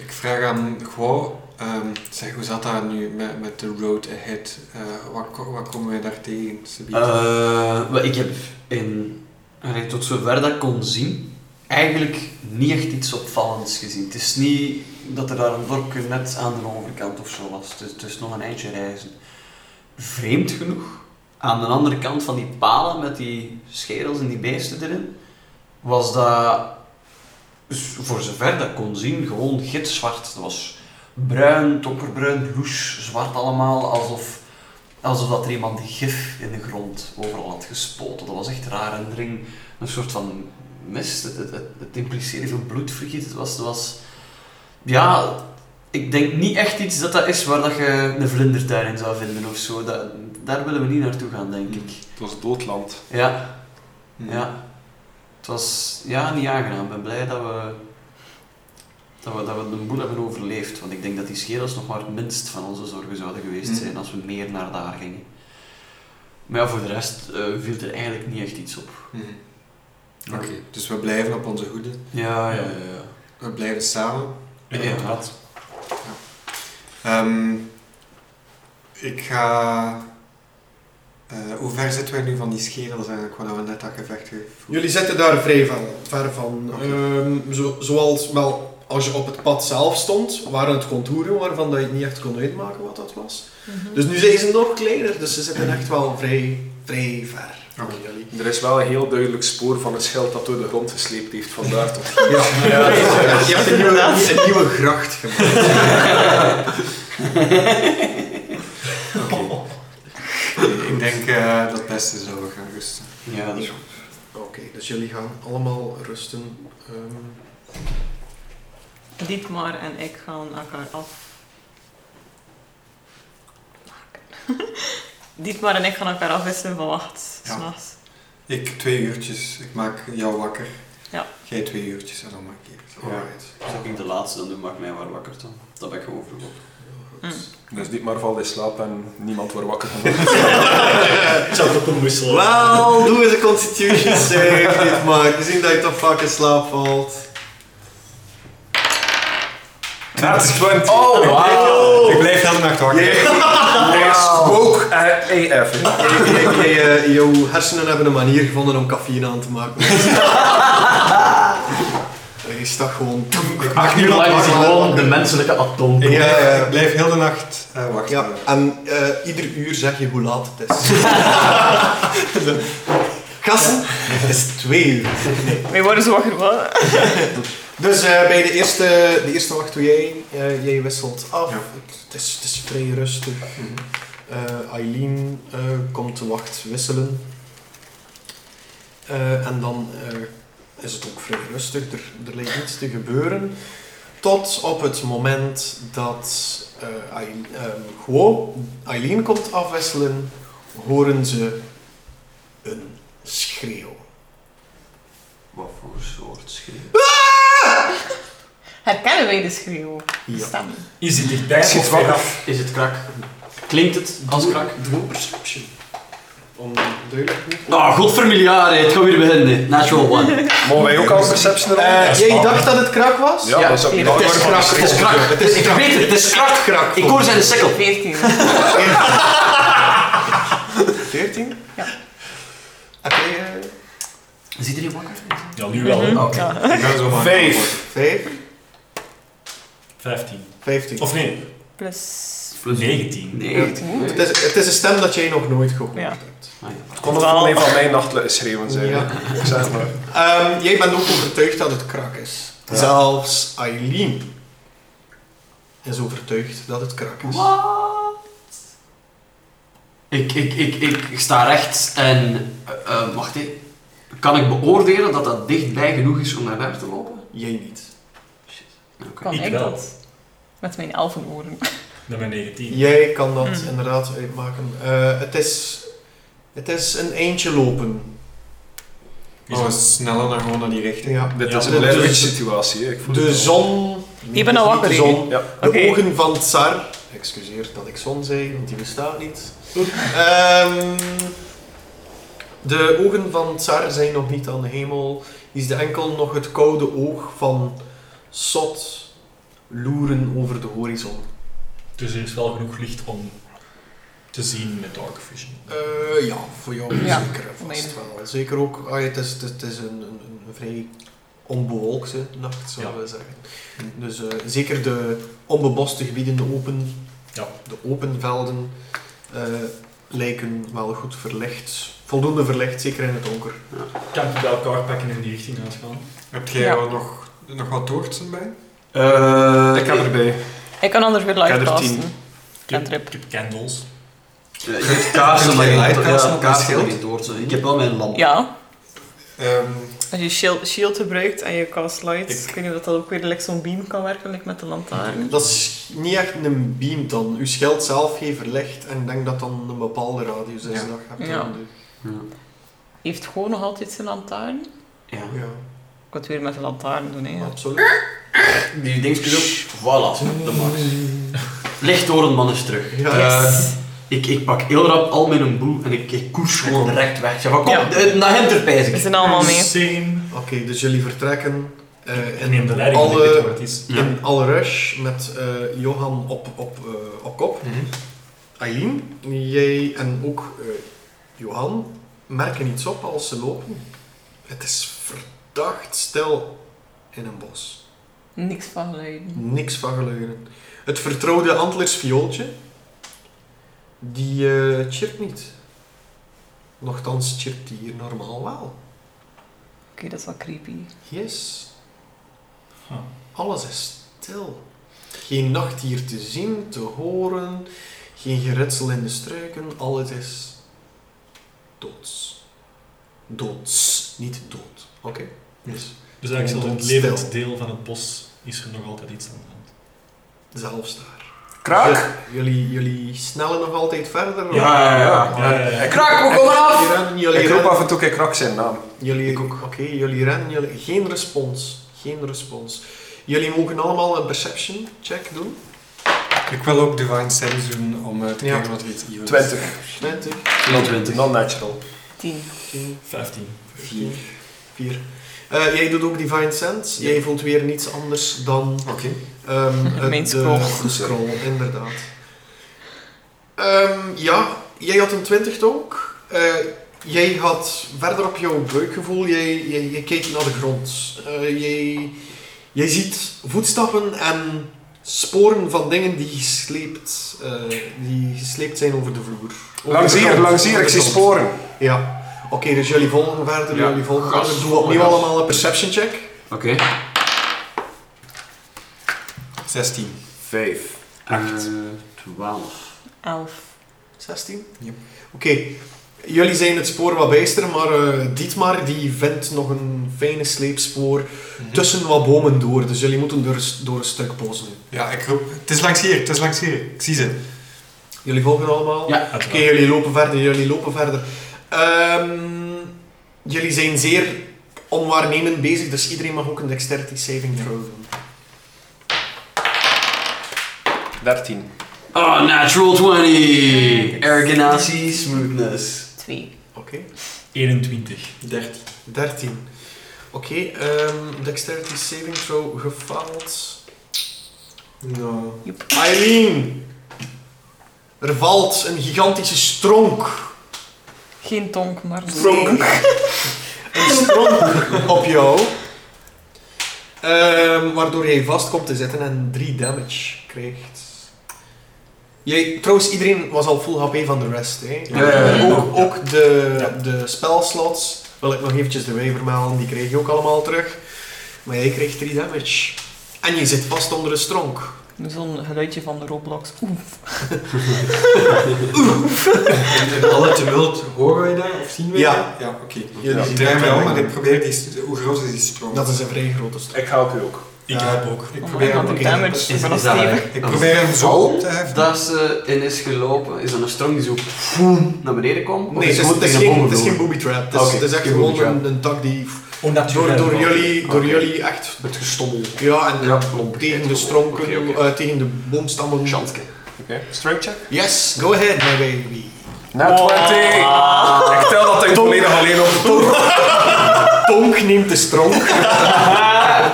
[SPEAKER 5] Ik vraag aan Guo, ehm, zeg, hoe zat dat nu met, met de road ahead? Eh, wat, ko- wat komen we daar tegen? Sabine?
[SPEAKER 1] Eh, wel, ik heb in, allee, tot zover dat ik kon zien, eigenlijk niet echt iets opvallends gezien. Het is niet dat er daar een dorpje net aan de overkant of zo was. Het is, het is nog een eindje reizen. Vreemd genoeg, aan de andere kant van die palen met die scherels en die beesten erin, was dat, s- voor zover dat ik kon zien, gewoon gitzwart. Het was bruin, donkerbruin, loes, zwart allemaal, alsof Alsof dat er iemand gif in de grond overal had gespoten. Dat was echt raar. En er hing een soort van mist. Het, het, het, het impliceerde veel bloedvergiet. Het was, het was... Ja, ik denk niet echt iets dat dat is waar dat je een vlindertuin in zou vinden of zo. Dat, daar willen we niet naartoe gaan, denk ik.
[SPEAKER 6] Het was doodland.
[SPEAKER 1] Ja,
[SPEAKER 5] Hmm.
[SPEAKER 1] ja. Het was ja, niet aangenaam. Ik ben blij dat we, dat, we, dat we de boel hebben overleefd. Want ik denk dat die scherels nog maar het minst van onze zorgen zouden geweest
[SPEAKER 5] Hmm.
[SPEAKER 1] zijn als we meer naar daar gingen. Maar ja, voor de rest eh, viel er eigenlijk niet echt iets op.
[SPEAKER 5] Hmm.
[SPEAKER 1] nou.
[SPEAKER 5] Oké, dus we blijven op onze hoede.
[SPEAKER 1] Ja, ja, ja.
[SPEAKER 5] We blijven samen.
[SPEAKER 4] En
[SPEAKER 1] Ja.
[SPEAKER 4] op het pad.
[SPEAKER 5] Ehm, ik ga... eh, hoe ver zitten wij nu van die scherels eigenlijk, waar we net dat gevecht hebben?
[SPEAKER 2] Jullie zitten daar vrij van, ver van.
[SPEAKER 5] Oké.
[SPEAKER 2] Ehm, zo, zoals wel, als je op het pad zelf stond, waren het contouren waarvan dat je niet echt kon uitmaken wat dat was.
[SPEAKER 3] Mhm.
[SPEAKER 2] Dus nu zijn ze nog kleiner, dus ze zitten echt wel vrij, vrij ver van
[SPEAKER 5] Oké.
[SPEAKER 2] jullie.
[SPEAKER 6] Er is wel een heel duidelijk spoor van een schild dat door de grond gesleept heeft vandaar tot
[SPEAKER 2] Ja, je hebt een nieuwe, een nieuwe gracht gemaakt.
[SPEAKER 5] Ik denk eh, dat het beste is dat we gaan rusten.
[SPEAKER 1] ja dat is goed.
[SPEAKER 2] Oké, dus jullie gaan allemaal rusten. Ehm,
[SPEAKER 3] Dietmar en ik gaan elkaar af. Dietmar en ik gaan elkaar afwisselen van wacht.
[SPEAKER 5] Ja.
[SPEAKER 3] s'nachts.
[SPEAKER 5] Ik twee uurtjes. Ik maak jou wakker.
[SPEAKER 3] Ja.
[SPEAKER 5] Jij twee uurtjes en dan maak ik het.
[SPEAKER 1] Alright. Als ik de laatste dan doe, maakt mij waar wakker dan. Dat ben ik gewoon vroeg op.
[SPEAKER 2] ja, goed.
[SPEAKER 3] Mm.
[SPEAKER 6] Dus dit maar valt in slaap en niemand wordt wakker van wordt.
[SPEAKER 4] Ik zou het ook kunnen wisselen.
[SPEAKER 2] Wel, doe eens een constitution save dit maar. Gezien dat je toch vaak in slaap valt.
[SPEAKER 6] That's 20. Oh, wow.
[SPEAKER 5] Ik blijf heel nacht wakker.
[SPEAKER 6] Hij spook eh, AF.
[SPEAKER 2] Je- je- je- eh, Jouw hersenen hebben een manier gevonden om cafeïne aan te maken. En Je stak gewoon...
[SPEAKER 1] Acht uur lang is hij gewoon de menselijke atoom.
[SPEAKER 5] Ik
[SPEAKER 2] Ja,
[SPEAKER 5] blijf,
[SPEAKER 2] ja.
[SPEAKER 5] ik blijf heel de nacht eh, wachten.
[SPEAKER 2] Ja, en eh, ieder uur zeg je hoe laat het is. Gasten, het is twee uur.
[SPEAKER 3] Wij worden zo wakker van.
[SPEAKER 2] Dus eh, bij de eerste, de eerste wacht doe jij, eh, jij wisselt af.
[SPEAKER 5] Ja.
[SPEAKER 2] Het, is, het is vrij rustig. Eh, Eileen eh, komt de wacht wisselen. Eh, en dan eh, is het ook vrij rustig. Er, er lijkt niets te gebeuren. Tot op het moment dat eh Eileen, ehm, Guo Eileen komt afwisselen, horen ze een schreeuw.
[SPEAKER 1] Wat voor soort schreeuw?
[SPEAKER 3] Herkennen wij de schreeuw?
[SPEAKER 2] Ja.
[SPEAKER 3] Stem.
[SPEAKER 4] Is het dichtbij
[SPEAKER 1] Is het
[SPEAKER 4] of
[SPEAKER 1] krak?
[SPEAKER 4] veraf?
[SPEAKER 1] Is het krak? Klinkt het als krak?
[SPEAKER 2] Doe een perception. Om duidelijk te
[SPEAKER 1] Ah, godvermiliare, het gaat weer beginnen. Natural one.
[SPEAKER 6] Mogen wij ook al perception erop?
[SPEAKER 2] Eh, jij dacht dat het krak was?
[SPEAKER 6] ja, dat zou
[SPEAKER 3] Ja.
[SPEAKER 6] ik
[SPEAKER 3] Het
[SPEAKER 1] Het is krak, het is krak. Het is, ik weet het, het is krak.
[SPEAKER 2] Krak.
[SPEAKER 1] Ik hoor zijn sikkel.
[SPEAKER 3] 14.
[SPEAKER 2] 14?
[SPEAKER 3] Ja.
[SPEAKER 2] Heb jij
[SPEAKER 1] Is iedereen wakker?
[SPEAKER 4] Ja, nu wel.
[SPEAKER 3] Mhm.
[SPEAKER 1] Oké.
[SPEAKER 5] Ik ben zo van.
[SPEAKER 6] Vijf.
[SPEAKER 2] 5?
[SPEAKER 4] 15.
[SPEAKER 2] 15.
[SPEAKER 4] Of nee,
[SPEAKER 3] Plus.
[SPEAKER 1] Plus
[SPEAKER 4] 19.
[SPEAKER 1] Nee.
[SPEAKER 3] Oeh.
[SPEAKER 2] Het, is, het is een stem dat jij nog nooit gehoord
[SPEAKER 3] Ja.
[SPEAKER 2] hebt.
[SPEAKER 1] Ah, ja.
[SPEAKER 6] Het kon ook van een van mijn nachtelijke schreeuwen zijn.
[SPEAKER 2] Ja.
[SPEAKER 6] Ik zeg maar.
[SPEAKER 2] Ehm, jij bent ook overtuigd dat het krak is. Zelfs Eileen is overtuigd dat het krak is.
[SPEAKER 1] Ik, ik, ik, ik sta rechts en... eh, eh, wacht even. Kan ik beoordelen dat dat dichtbij genoeg is om naar daar te lopen?
[SPEAKER 2] Jij niet.
[SPEAKER 3] Kan
[SPEAKER 4] Ik
[SPEAKER 3] ik,
[SPEAKER 4] wel.
[SPEAKER 3] dat? Met mijn elfenoren.
[SPEAKER 4] Dan ben ik 19.
[SPEAKER 2] Jij kan dat
[SPEAKER 3] Mhm.
[SPEAKER 2] inderdaad uitmaken. Eh, het, is, het is een eindje lopen.
[SPEAKER 5] Maar Oh, we sneller dan gewoon naar die richting.
[SPEAKER 2] Ja.
[SPEAKER 6] Dit
[SPEAKER 4] Ja,
[SPEAKER 6] is een
[SPEAKER 2] de-
[SPEAKER 6] Blair
[SPEAKER 2] de-
[SPEAKER 6] Witch situatie. hè. Ik voel
[SPEAKER 2] De
[SPEAKER 6] het al.
[SPEAKER 2] zon.
[SPEAKER 3] Je bent al
[SPEAKER 2] Niet de
[SPEAKER 3] wakker,
[SPEAKER 2] zon.
[SPEAKER 6] Ja.
[SPEAKER 2] De
[SPEAKER 3] Oké.
[SPEAKER 2] ogen van Tsar. Excuseer dat ik zon zei, want die bestaat niet. Ehm, de ogen van Tsar zijn nog niet aan de hemel. Is de enkel nog het koude oog van Sot loeren over de horizon.
[SPEAKER 4] Dus er is wel genoeg licht om te zien met dark vision.
[SPEAKER 2] Eh, ja, voor jou
[SPEAKER 3] Ja,
[SPEAKER 2] zeker
[SPEAKER 3] voor mij
[SPEAKER 2] vast
[SPEAKER 4] eh,
[SPEAKER 2] wel. Zeker ook, ah, ja, het is, het is- het is een, een, een vrij onbewolkte nacht, zou
[SPEAKER 4] Ja.
[SPEAKER 2] we zeggen. Dus eh, zeker de onbeboste gebieden, de open,
[SPEAKER 4] Ja.
[SPEAKER 2] de open velden, eh, lijken wel goed verlicht. Voldoende verlicht, zeker in het donker.
[SPEAKER 4] Kan ik die bij elkaar pakken en in die richting uitgaan?
[SPEAKER 5] Heb jij
[SPEAKER 3] Ja.
[SPEAKER 5] wel nog, nog wat toortsen bij?
[SPEAKER 2] Eh,
[SPEAKER 6] ik heb erbij.
[SPEAKER 3] Ik kan anders weer
[SPEAKER 6] Ik
[SPEAKER 3] live
[SPEAKER 6] heb er
[SPEAKER 3] casten.
[SPEAKER 6] tien.
[SPEAKER 4] Ik heb,
[SPEAKER 3] Cantrip.
[SPEAKER 4] ik heb candles.
[SPEAKER 1] Je hebt kaarsen, maar
[SPEAKER 5] Kun
[SPEAKER 1] je
[SPEAKER 5] je
[SPEAKER 1] hebt
[SPEAKER 5] lightkaarsen op een schild?
[SPEAKER 1] Ik heb wel mijn lamp.
[SPEAKER 3] Ja.
[SPEAKER 5] Ehm,
[SPEAKER 3] Als je shield, shield gebruikt en je cast lights,
[SPEAKER 5] Ik-
[SPEAKER 3] ik weet niet of dat ook weer like, zo'n beam kan werken like met de lantaarn.
[SPEAKER 2] Dat is niet echt een beam dan. Uw schild zelf heeft verlicht en ik denk dat dan een bepaalde radius is. Dat
[SPEAKER 5] Ja.
[SPEAKER 2] je hebt dus.
[SPEAKER 3] Ja.
[SPEAKER 2] nodig.
[SPEAKER 1] Ja.
[SPEAKER 3] Heeft gewoon nog altijd zijn lantaarn. Ik
[SPEAKER 1] Ja.
[SPEAKER 2] Ja,
[SPEAKER 3] kan het weer met de lantaarn doen, hè.
[SPEAKER 2] absoluut.
[SPEAKER 1] Die dingetjes op. Voilà, de max. Licht door een man is terug.
[SPEAKER 2] Ja.
[SPEAKER 1] Eh, ik, ik pak heel rap al mijn boel en ik, ik koers gewoon direct weg. Ik Zeg van, kom,
[SPEAKER 3] Ja.
[SPEAKER 1] eh, naar hem terpijs
[SPEAKER 3] We
[SPEAKER 1] ik.
[SPEAKER 3] zijn allemaal mee.
[SPEAKER 4] Insane.
[SPEAKER 2] Oké, dus jullie vertrekken. eh,
[SPEAKER 4] En neem de leiding, want ik weet
[SPEAKER 2] alle,
[SPEAKER 4] waar het is.
[SPEAKER 1] Ja.
[SPEAKER 2] in alle rush met eh, Johan op, op, eh, op kop. Aileen, jij en ook eh, Johan merken iets op als ze lopen. Het is verdacht stil in een bos.
[SPEAKER 3] Niks van geluiden.
[SPEAKER 2] Niks van geluiden. Het vertrouwde antlersviooltje, die eh chirpt niet. Nochtans chirpt die hier normaal wel.
[SPEAKER 3] Oké, dat is wel creepy.
[SPEAKER 2] Yes.
[SPEAKER 4] Huh.
[SPEAKER 2] Alles is stil. Geen nacht hier te zien, te horen, geen geritsel in de struiken, alles is doods. Doods, niet dood. Oké? Dus
[SPEAKER 4] Dus eigenlijk zelfs in het
[SPEAKER 2] Stil.
[SPEAKER 4] levend deel van het bos is er nog altijd iets aan de hand.
[SPEAKER 2] zelfs daar.
[SPEAKER 6] Kraak.
[SPEAKER 2] J- Jullie, jullie snellen nog altijd verder?
[SPEAKER 1] Ja, ja, ja.
[SPEAKER 4] Ja, ja, ja.
[SPEAKER 6] Ik-
[SPEAKER 1] Krak, we komen af!
[SPEAKER 2] Jullie rennen, jullie
[SPEAKER 6] Ik roep
[SPEAKER 2] rennen.
[SPEAKER 6] af en toe, ik krak zijn naam.
[SPEAKER 2] Jullie, Oké, jullie rennen, jullie... Geen respons. Geen respons. Jullie mogen allemaal een perception check doen.
[SPEAKER 5] Ik wil ook Divine Sense doen om eh, te
[SPEAKER 2] Ja.
[SPEAKER 5] kijken wat er iets evil
[SPEAKER 6] Dus-
[SPEAKER 5] is.
[SPEAKER 6] 20.
[SPEAKER 2] 20,
[SPEAKER 1] 24.
[SPEAKER 6] Non-natural.
[SPEAKER 3] 10.
[SPEAKER 2] 10,
[SPEAKER 4] 15.
[SPEAKER 2] 4. 4. Eh, jij doet ook Divine Sense.
[SPEAKER 4] Ja.
[SPEAKER 2] Jij voelt weer niets anders dan
[SPEAKER 5] Oké.
[SPEAKER 2] Ehm, het-
[SPEAKER 3] Mijn
[SPEAKER 2] de-
[SPEAKER 3] scroll.
[SPEAKER 2] De scroll, inderdaad. Ehm, ja, jij had een 20 ook. Eh, jij had verder op jouw buikgevoel, jij, jij, jij keek naar de grond. Eh, jij, jij ziet voetstappen en sporen van dingen die gesleept, eh, die gesleept zijn over de vloer. Over
[SPEAKER 6] Langs
[SPEAKER 2] de
[SPEAKER 6] hier,
[SPEAKER 2] grond,
[SPEAKER 6] langs hier,
[SPEAKER 2] over de
[SPEAKER 6] ik zie
[SPEAKER 2] grond.
[SPEAKER 6] sporen.
[SPEAKER 2] Ja. Oké, dus jullie volgen verder,
[SPEAKER 1] Ja,
[SPEAKER 2] jullie volgen
[SPEAKER 1] gas,
[SPEAKER 2] verder. Doe
[SPEAKER 1] volle
[SPEAKER 2] opnieuw
[SPEAKER 1] gas.
[SPEAKER 2] allemaal een perception check.
[SPEAKER 1] Oké.
[SPEAKER 5] 16.
[SPEAKER 6] 5.
[SPEAKER 1] Acht. 12.
[SPEAKER 3] 11.
[SPEAKER 2] 16?
[SPEAKER 5] Ja.
[SPEAKER 2] Oké. Jullie zijn het spoor wat bijster, maar eh, Dietmar die vindt nog een fijne sleepspoor
[SPEAKER 5] Mhm.
[SPEAKER 2] tussen wat bomen door. Dus jullie moeten door, een s- door een stuk pozen.
[SPEAKER 5] Ja, ik roep. Het is langs hier, het is langs hier. Ik zie ze.
[SPEAKER 2] Jullie volgen allemaal?
[SPEAKER 1] Ja.
[SPEAKER 2] Oké, jullie lopen verder, jullie lopen verder. Ehm, jullie zijn zeer onwaarnemend bezig, dus iedereen mag ook een dexterity saving throw doen.
[SPEAKER 6] 13.
[SPEAKER 1] Oh, natural 20! Erganatie, smoothness.
[SPEAKER 3] 2.
[SPEAKER 2] Oké.
[SPEAKER 4] 21.
[SPEAKER 5] 13.
[SPEAKER 2] 13. Oké, ehm, dexterity saving throw gefaald.
[SPEAKER 5] No.
[SPEAKER 2] Eileen! Er valt een gigantische stronk.
[SPEAKER 3] Geen tonk, maar een
[SPEAKER 2] Stronk.
[SPEAKER 3] steen.
[SPEAKER 2] Een stronk op jou. Ehm, waardoor jij vast komt te zitten en 3 damage krijgt. Jij, trouwens, iedereen was al full HP van de rest. Hè?
[SPEAKER 1] Ja, ja, ja.
[SPEAKER 2] Ook, ook de,
[SPEAKER 4] Ja.
[SPEAKER 2] de spelslots, wil ik nog eventjes erbij vermelden, die kreeg je ook allemaal terug. Maar jij kreeg 3 damage. En je zit vast onder een stronk.
[SPEAKER 3] Zo'n geluidje van de Roblox. Oef.
[SPEAKER 5] En alle tumult horen wij daar of zien wij
[SPEAKER 2] Ja.
[SPEAKER 5] daar? Ja, oké.
[SPEAKER 2] Jullie
[SPEAKER 5] Ik
[SPEAKER 2] zien
[SPEAKER 5] draai mij
[SPEAKER 2] dat
[SPEAKER 5] om
[SPEAKER 2] wel.
[SPEAKER 5] en ik probeer die... st- Hoe groot is die stroom?
[SPEAKER 2] Dat is een vrij grote stronk.
[SPEAKER 6] Ik help u ook.
[SPEAKER 4] Ik
[SPEAKER 2] Ja.
[SPEAKER 4] heb ook.
[SPEAKER 5] Ik
[SPEAKER 3] Oh
[SPEAKER 5] probeer
[SPEAKER 3] my god,
[SPEAKER 5] hem...
[SPEAKER 3] de
[SPEAKER 5] Ik,
[SPEAKER 3] damage is wel
[SPEAKER 1] Is dat
[SPEAKER 3] stevig.
[SPEAKER 1] een-
[SPEAKER 5] ik probeer hem zo op te heffen.
[SPEAKER 1] Dat ze in is gelopen, is dat een strong die zo voem naar beneden komt? Of
[SPEAKER 2] Nee, het is,
[SPEAKER 1] gewoon
[SPEAKER 2] het is
[SPEAKER 1] tegen
[SPEAKER 2] geen,
[SPEAKER 1] boven
[SPEAKER 2] het is geen
[SPEAKER 1] gelopen?
[SPEAKER 2] booby trap. Het is,
[SPEAKER 1] Oké,
[SPEAKER 2] het is echt
[SPEAKER 1] geen
[SPEAKER 2] gewoon
[SPEAKER 1] booby trap.
[SPEAKER 2] een, een tak die door,
[SPEAKER 4] Onnatuurlijk.
[SPEAKER 2] door, jullie, door
[SPEAKER 1] Oké.
[SPEAKER 2] jullie echt.
[SPEAKER 6] Het gestommel. Oké,
[SPEAKER 2] Ja, en
[SPEAKER 1] Ja, plomp.
[SPEAKER 2] tegen de stronken,
[SPEAKER 1] Oké, oké.
[SPEAKER 2] eh, tegen de boomstammen.
[SPEAKER 1] Chanske.
[SPEAKER 6] strength check.
[SPEAKER 2] Yes, go ahead, my baby.
[SPEAKER 6] Na 20. Ik tel dat ding volledig alleen op.
[SPEAKER 2] Tonk neemt de stronk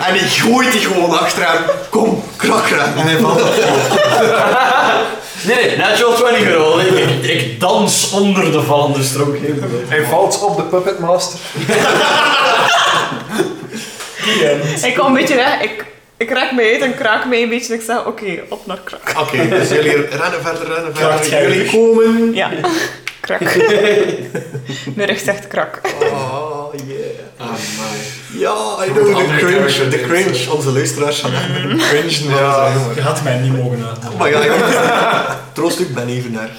[SPEAKER 2] en die gooit die gewoon achter hem. Kom, krak hem.
[SPEAKER 5] En hij valt op.
[SPEAKER 1] Nee, nee, natural 20 girl. Ik, ik dans onder de vallende strook.
[SPEAKER 6] Hij valt op de Puppet Master.
[SPEAKER 3] Ik kom een beetje weg. Ik, ik raak mij uit en kraak mij een beetje. En ik zeg, oké, op naar krak.
[SPEAKER 2] Oké, dus jullie rennen verder, rennen
[SPEAKER 4] Kraakt
[SPEAKER 2] verder.
[SPEAKER 4] jij
[SPEAKER 2] Jullie
[SPEAKER 4] weg.
[SPEAKER 2] komen.
[SPEAKER 3] Ja. Krak. Mijn rug zegt krak.
[SPEAKER 2] Oh, yeah.
[SPEAKER 5] Ah,
[SPEAKER 2] Ja, I
[SPEAKER 5] Moet
[SPEAKER 2] know, de
[SPEAKER 5] andere
[SPEAKER 2] cringe.
[SPEAKER 5] character
[SPEAKER 2] De
[SPEAKER 5] dit
[SPEAKER 2] cringe.
[SPEAKER 5] zijn.
[SPEAKER 2] Onze luisteraars gaan echt cringe
[SPEAKER 6] Ja.
[SPEAKER 2] ja.
[SPEAKER 4] Je had mij niet mogen uitnodigen.
[SPEAKER 1] Oh
[SPEAKER 2] Maar ja, ik- troost u, ik ben even naar.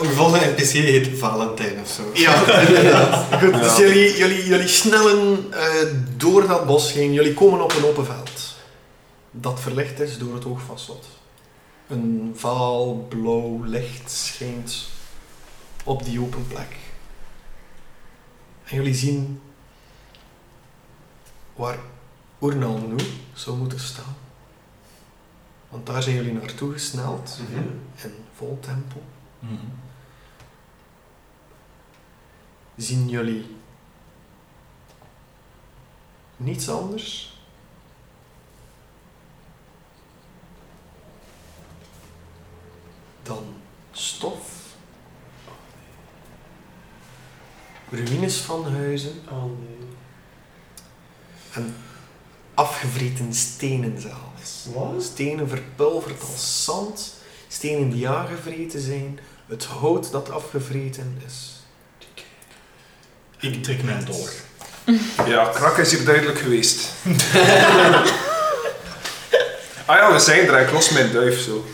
[SPEAKER 5] Een volgende NPC heet Valentijn of zo.
[SPEAKER 2] Ja, inderdaad. Goed, dus jullie, jullie, jullie snellen eh, door dat bos heen. Jullie komen op een open veld. Dat verlicht is door het oog van Slot. Een vaal blauw licht schijnt op die open plek. En jullie zien waar Oernal nu zou moeten staan. Want daar zijn jullie naartoe gesneld
[SPEAKER 5] Mhm.
[SPEAKER 2] in vol tempo.
[SPEAKER 4] Mhm.
[SPEAKER 2] zien jullie niets anders dan stof, ruïnes van huizen en afgevreten stenen zelfs. Stenen verpulverd als zand, stenen die aangevreten zijn, het hout dat afgevreten is.
[SPEAKER 4] Ik trek mijn dollar.
[SPEAKER 6] Ja, krak is hier duidelijk geweest. ah ja, we zijn er. Ik los mijn duif zo.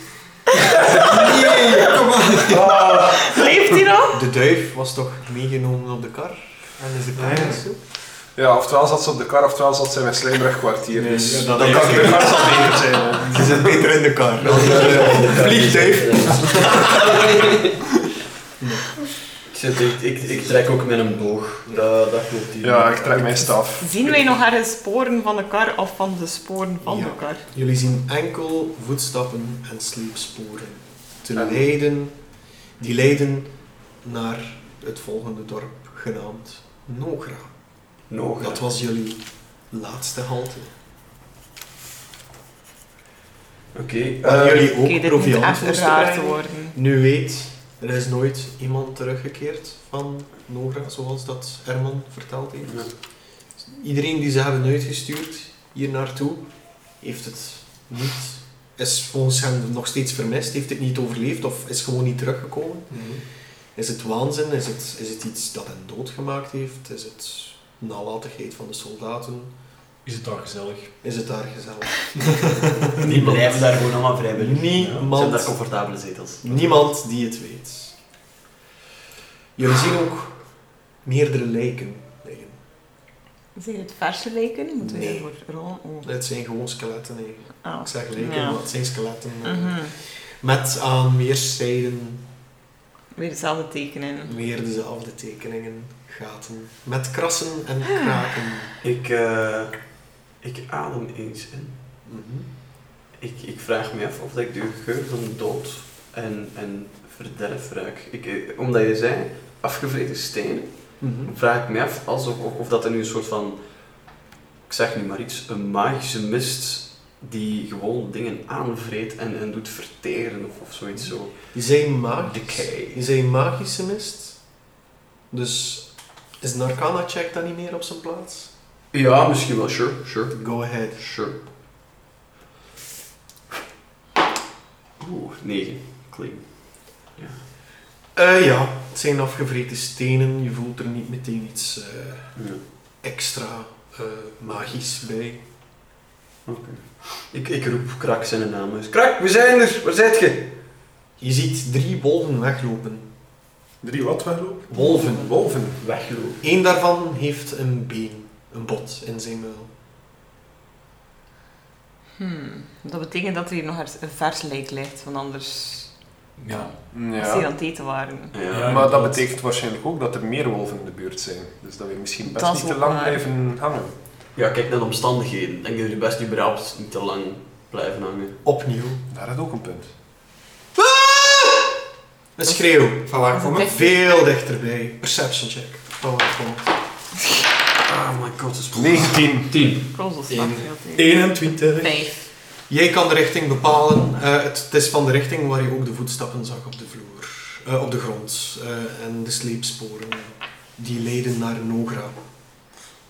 [SPEAKER 3] Leeft hij nog?
[SPEAKER 2] De duif was toch meegenomen op de kar? En is de kar
[SPEAKER 5] Ja.
[SPEAKER 2] niet zo?
[SPEAKER 6] Ja, oftewel zat ze op de kar, oftewel zat ze in mijn slijmrugkwartier.
[SPEAKER 4] Nee,
[SPEAKER 6] dus
[SPEAKER 4] ja,
[SPEAKER 6] dan
[SPEAKER 4] dat
[SPEAKER 6] kan
[SPEAKER 4] heeft-
[SPEAKER 6] de kar zal beter zijn. hè.
[SPEAKER 2] Je zit beter in de kar. Vliegduif.
[SPEAKER 1] Ik zit, ik, ik, ik trek ook met een boog. Dat, dat klopt hier.
[SPEAKER 6] Ja, ik trek mijn staf.
[SPEAKER 3] Zien wij nog ergens sporen van de kar of van de sporen van
[SPEAKER 2] Ja.
[SPEAKER 3] de kar?
[SPEAKER 2] Jullie zien enkel voetstappen en sleepsporen. Te leiden, die leiden naar het volgende dorp, genaamd Nogra.
[SPEAKER 1] Nog.
[SPEAKER 2] Dat was jullie laatste halte.
[SPEAKER 1] Oké.
[SPEAKER 2] Waar
[SPEAKER 1] eh,
[SPEAKER 2] jullie
[SPEAKER 3] Oké,
[SPEAKER 2] ook
[SPEAKER 3] dit moet
[SPEAKER 2] proviant
[SPEAKER 3] echt
[SPEAKER 2] moesten
[SPEAKER 3] raar te
[SPEAKER 2] brengen.
[SPEAKER 3] worden.
[SPEAKER 2] Nu weet, er is nooit iemand teruggekeerd van Nogra, zoals dat Herman verteld heeft.
[SPEAKER 1] Ja.
[SPEAKER 2] Iedereen die ze hebben uitgestuurd hier naartoe, heeft het niet, is volgens hem nog steeds vermist, heeft het niet overleefd of is gewoon niet teruggekomen.
[SPEAKER 1] Mhm.
[SPEAKER 2] Is het waanzin? Is het, is het iets dat hen doodgemaakt heeft? Is het nalatigheid van de soldaten?
[SPEAKER 4] Is het daar gezellig?
[SPEAKER 2] Is het daar gezellig?
[SPEAKER 1] Die blijven daar gewoon allemaal vrijwillig. Ze hebben daar
[SPEAKER 2] Niemand,
[SPEAKER 1] comfortabele zetels.
[SPEAKER 2] niemand die het weet. Jullie zien ook meerdere lijken liggen.
[SPEAKER 3] Zijn het verse lijken? Moeten we
[SPEAKER 2] Nee.
[SPEAKER 3] daarvoor rollen? Oh.
[SPEAKER 2] Het zijn gewoon skeletten eigenlijk.
[SPEAKER 3] Ah.
[SPEAKER 2] Ik zeg lijken,
[SPEAKER 3] Ja.
[SPEAKER 2] maar het zijn skeletten. eh,
[SPEAKER 3] Mhm.
[SPEAKER 2] Met aan weerszijden
[SPEAKER 3] Weer dezelfde tekenen.
[SPEAKER 2] weer dezelfde tekeningen, gaten. Met krassen
[SPEAKER 3] Ah.
[SPEAKER 2] en kraken.
[SPEAKER 1] Ik, eh, ik adem eens in.
[SPEAKER 2] Mhm.
[SPEAKER 1] Ik, ik vraag me af of dat ik de geur van dood en, en verderf ruik. Ik, eh, omdat je zei, afgevreten stenen,
[SPEAKER 2] Mhm.
[SPEAKER 1] vraag ik me af alsof, of, of dat er nu een soort van, ik zeg nu maar iets, een magische mist die gewoon dingen aanvreet en, en doet verteren of, of zoiets zo.
[SPEAKER 2] Die zijn magisch.
[SPEAKER 1] Decay.
[SPEAKER 2] Die zijn magische mist. Dus is een arcana check dan niet meer op zijn plaats?
[SPEAKER 1] Ja, misschien wel, sure, sure,
[SPEAKER 2] Go ahead.
[SPEAKER 1] sure. Oeh, 9. Clean.
[SPEAKER 2] Eh, ja, het zijn afgevreten stenen. Je voelt er niet meteen iets eh,
[SPEAKER 1] Ja.
[SPEAKER 2] extra eh, magisch bij.
[SPEAKER 1] Ik, ik roep Krak zijn naam dus eens. Krak, we zijn er! Waar zit je?
[SPEAKER 2] Je ziet drie wolven weglopen.
[SPEAKER 6] Drie wat weglopen?
[SPEAKER 2] Wolven.
[SPEAKER 6] Wolven.
[SPEAKER 1] Weglopen.
[SPEAKER 2] Eén daarvan heeft een been, een bot in zijn muil.
[SPEAKER 3] Hmm. Dat betekent dat er hier nog ergens een vers lijk ligt, want anders
[SPEAKER 4] Ja.
[SPEAKER 3] als die
[SPEAKER 6] Ja.
[SPEAKER 3] aan het eten waren.
[SPEAKER 1] Ja.
[SPEAKER 6] Maar dat betekent waarschijnlijk ook dat er meer wolven in de buurt zijn. Dus dat we misschien best
[SPEAKER 3] Dat is
[SPEAKER 6] niet te
[SPEAKER 3] ook
[SPEAKER 6] lang
[SPEAKER 3] waar.
[SPEAKER 6] blijven hangen.
[SPEAKER 1] ja, kijk naar de omstandigheden. Ik denk dat jullie best überhaupt niet te lang blijven hangen.
[SPEAKER 2] Opnieuw. Ah!
[SPEAKER 6] Daar had ook een punt.
[SPEAKER 2] Een schreeuw.
[SPEAKER 5] Van waar
[SPEAKER 3] Dat
[SPEAKER 5] kom
[SPEAKER 3] is
[SPEAKER 5] ik?
[SPEAKER 3] echt-
[SPEAKER 2] Veel dichterbij. Perception check. Oh, oh.
[SPEAKER 1] Oh my god, dat is
[SPEAKER 6] 19.
[SPEAKER 1] 10.
[SPEAKER 3] Krozzels
[SPEAKER 5] Eén.
[SPEAKER 4] 21.
[SPEAKER 3] Vijf.
[SPEAKER 2] Jij kan de richting bepalen. Eh, het, het is van de richting waar je ook de voetstappen zag op de vloer, eh, op de grond. eh, en de sleepsporen eh, die leiden naar Nogra.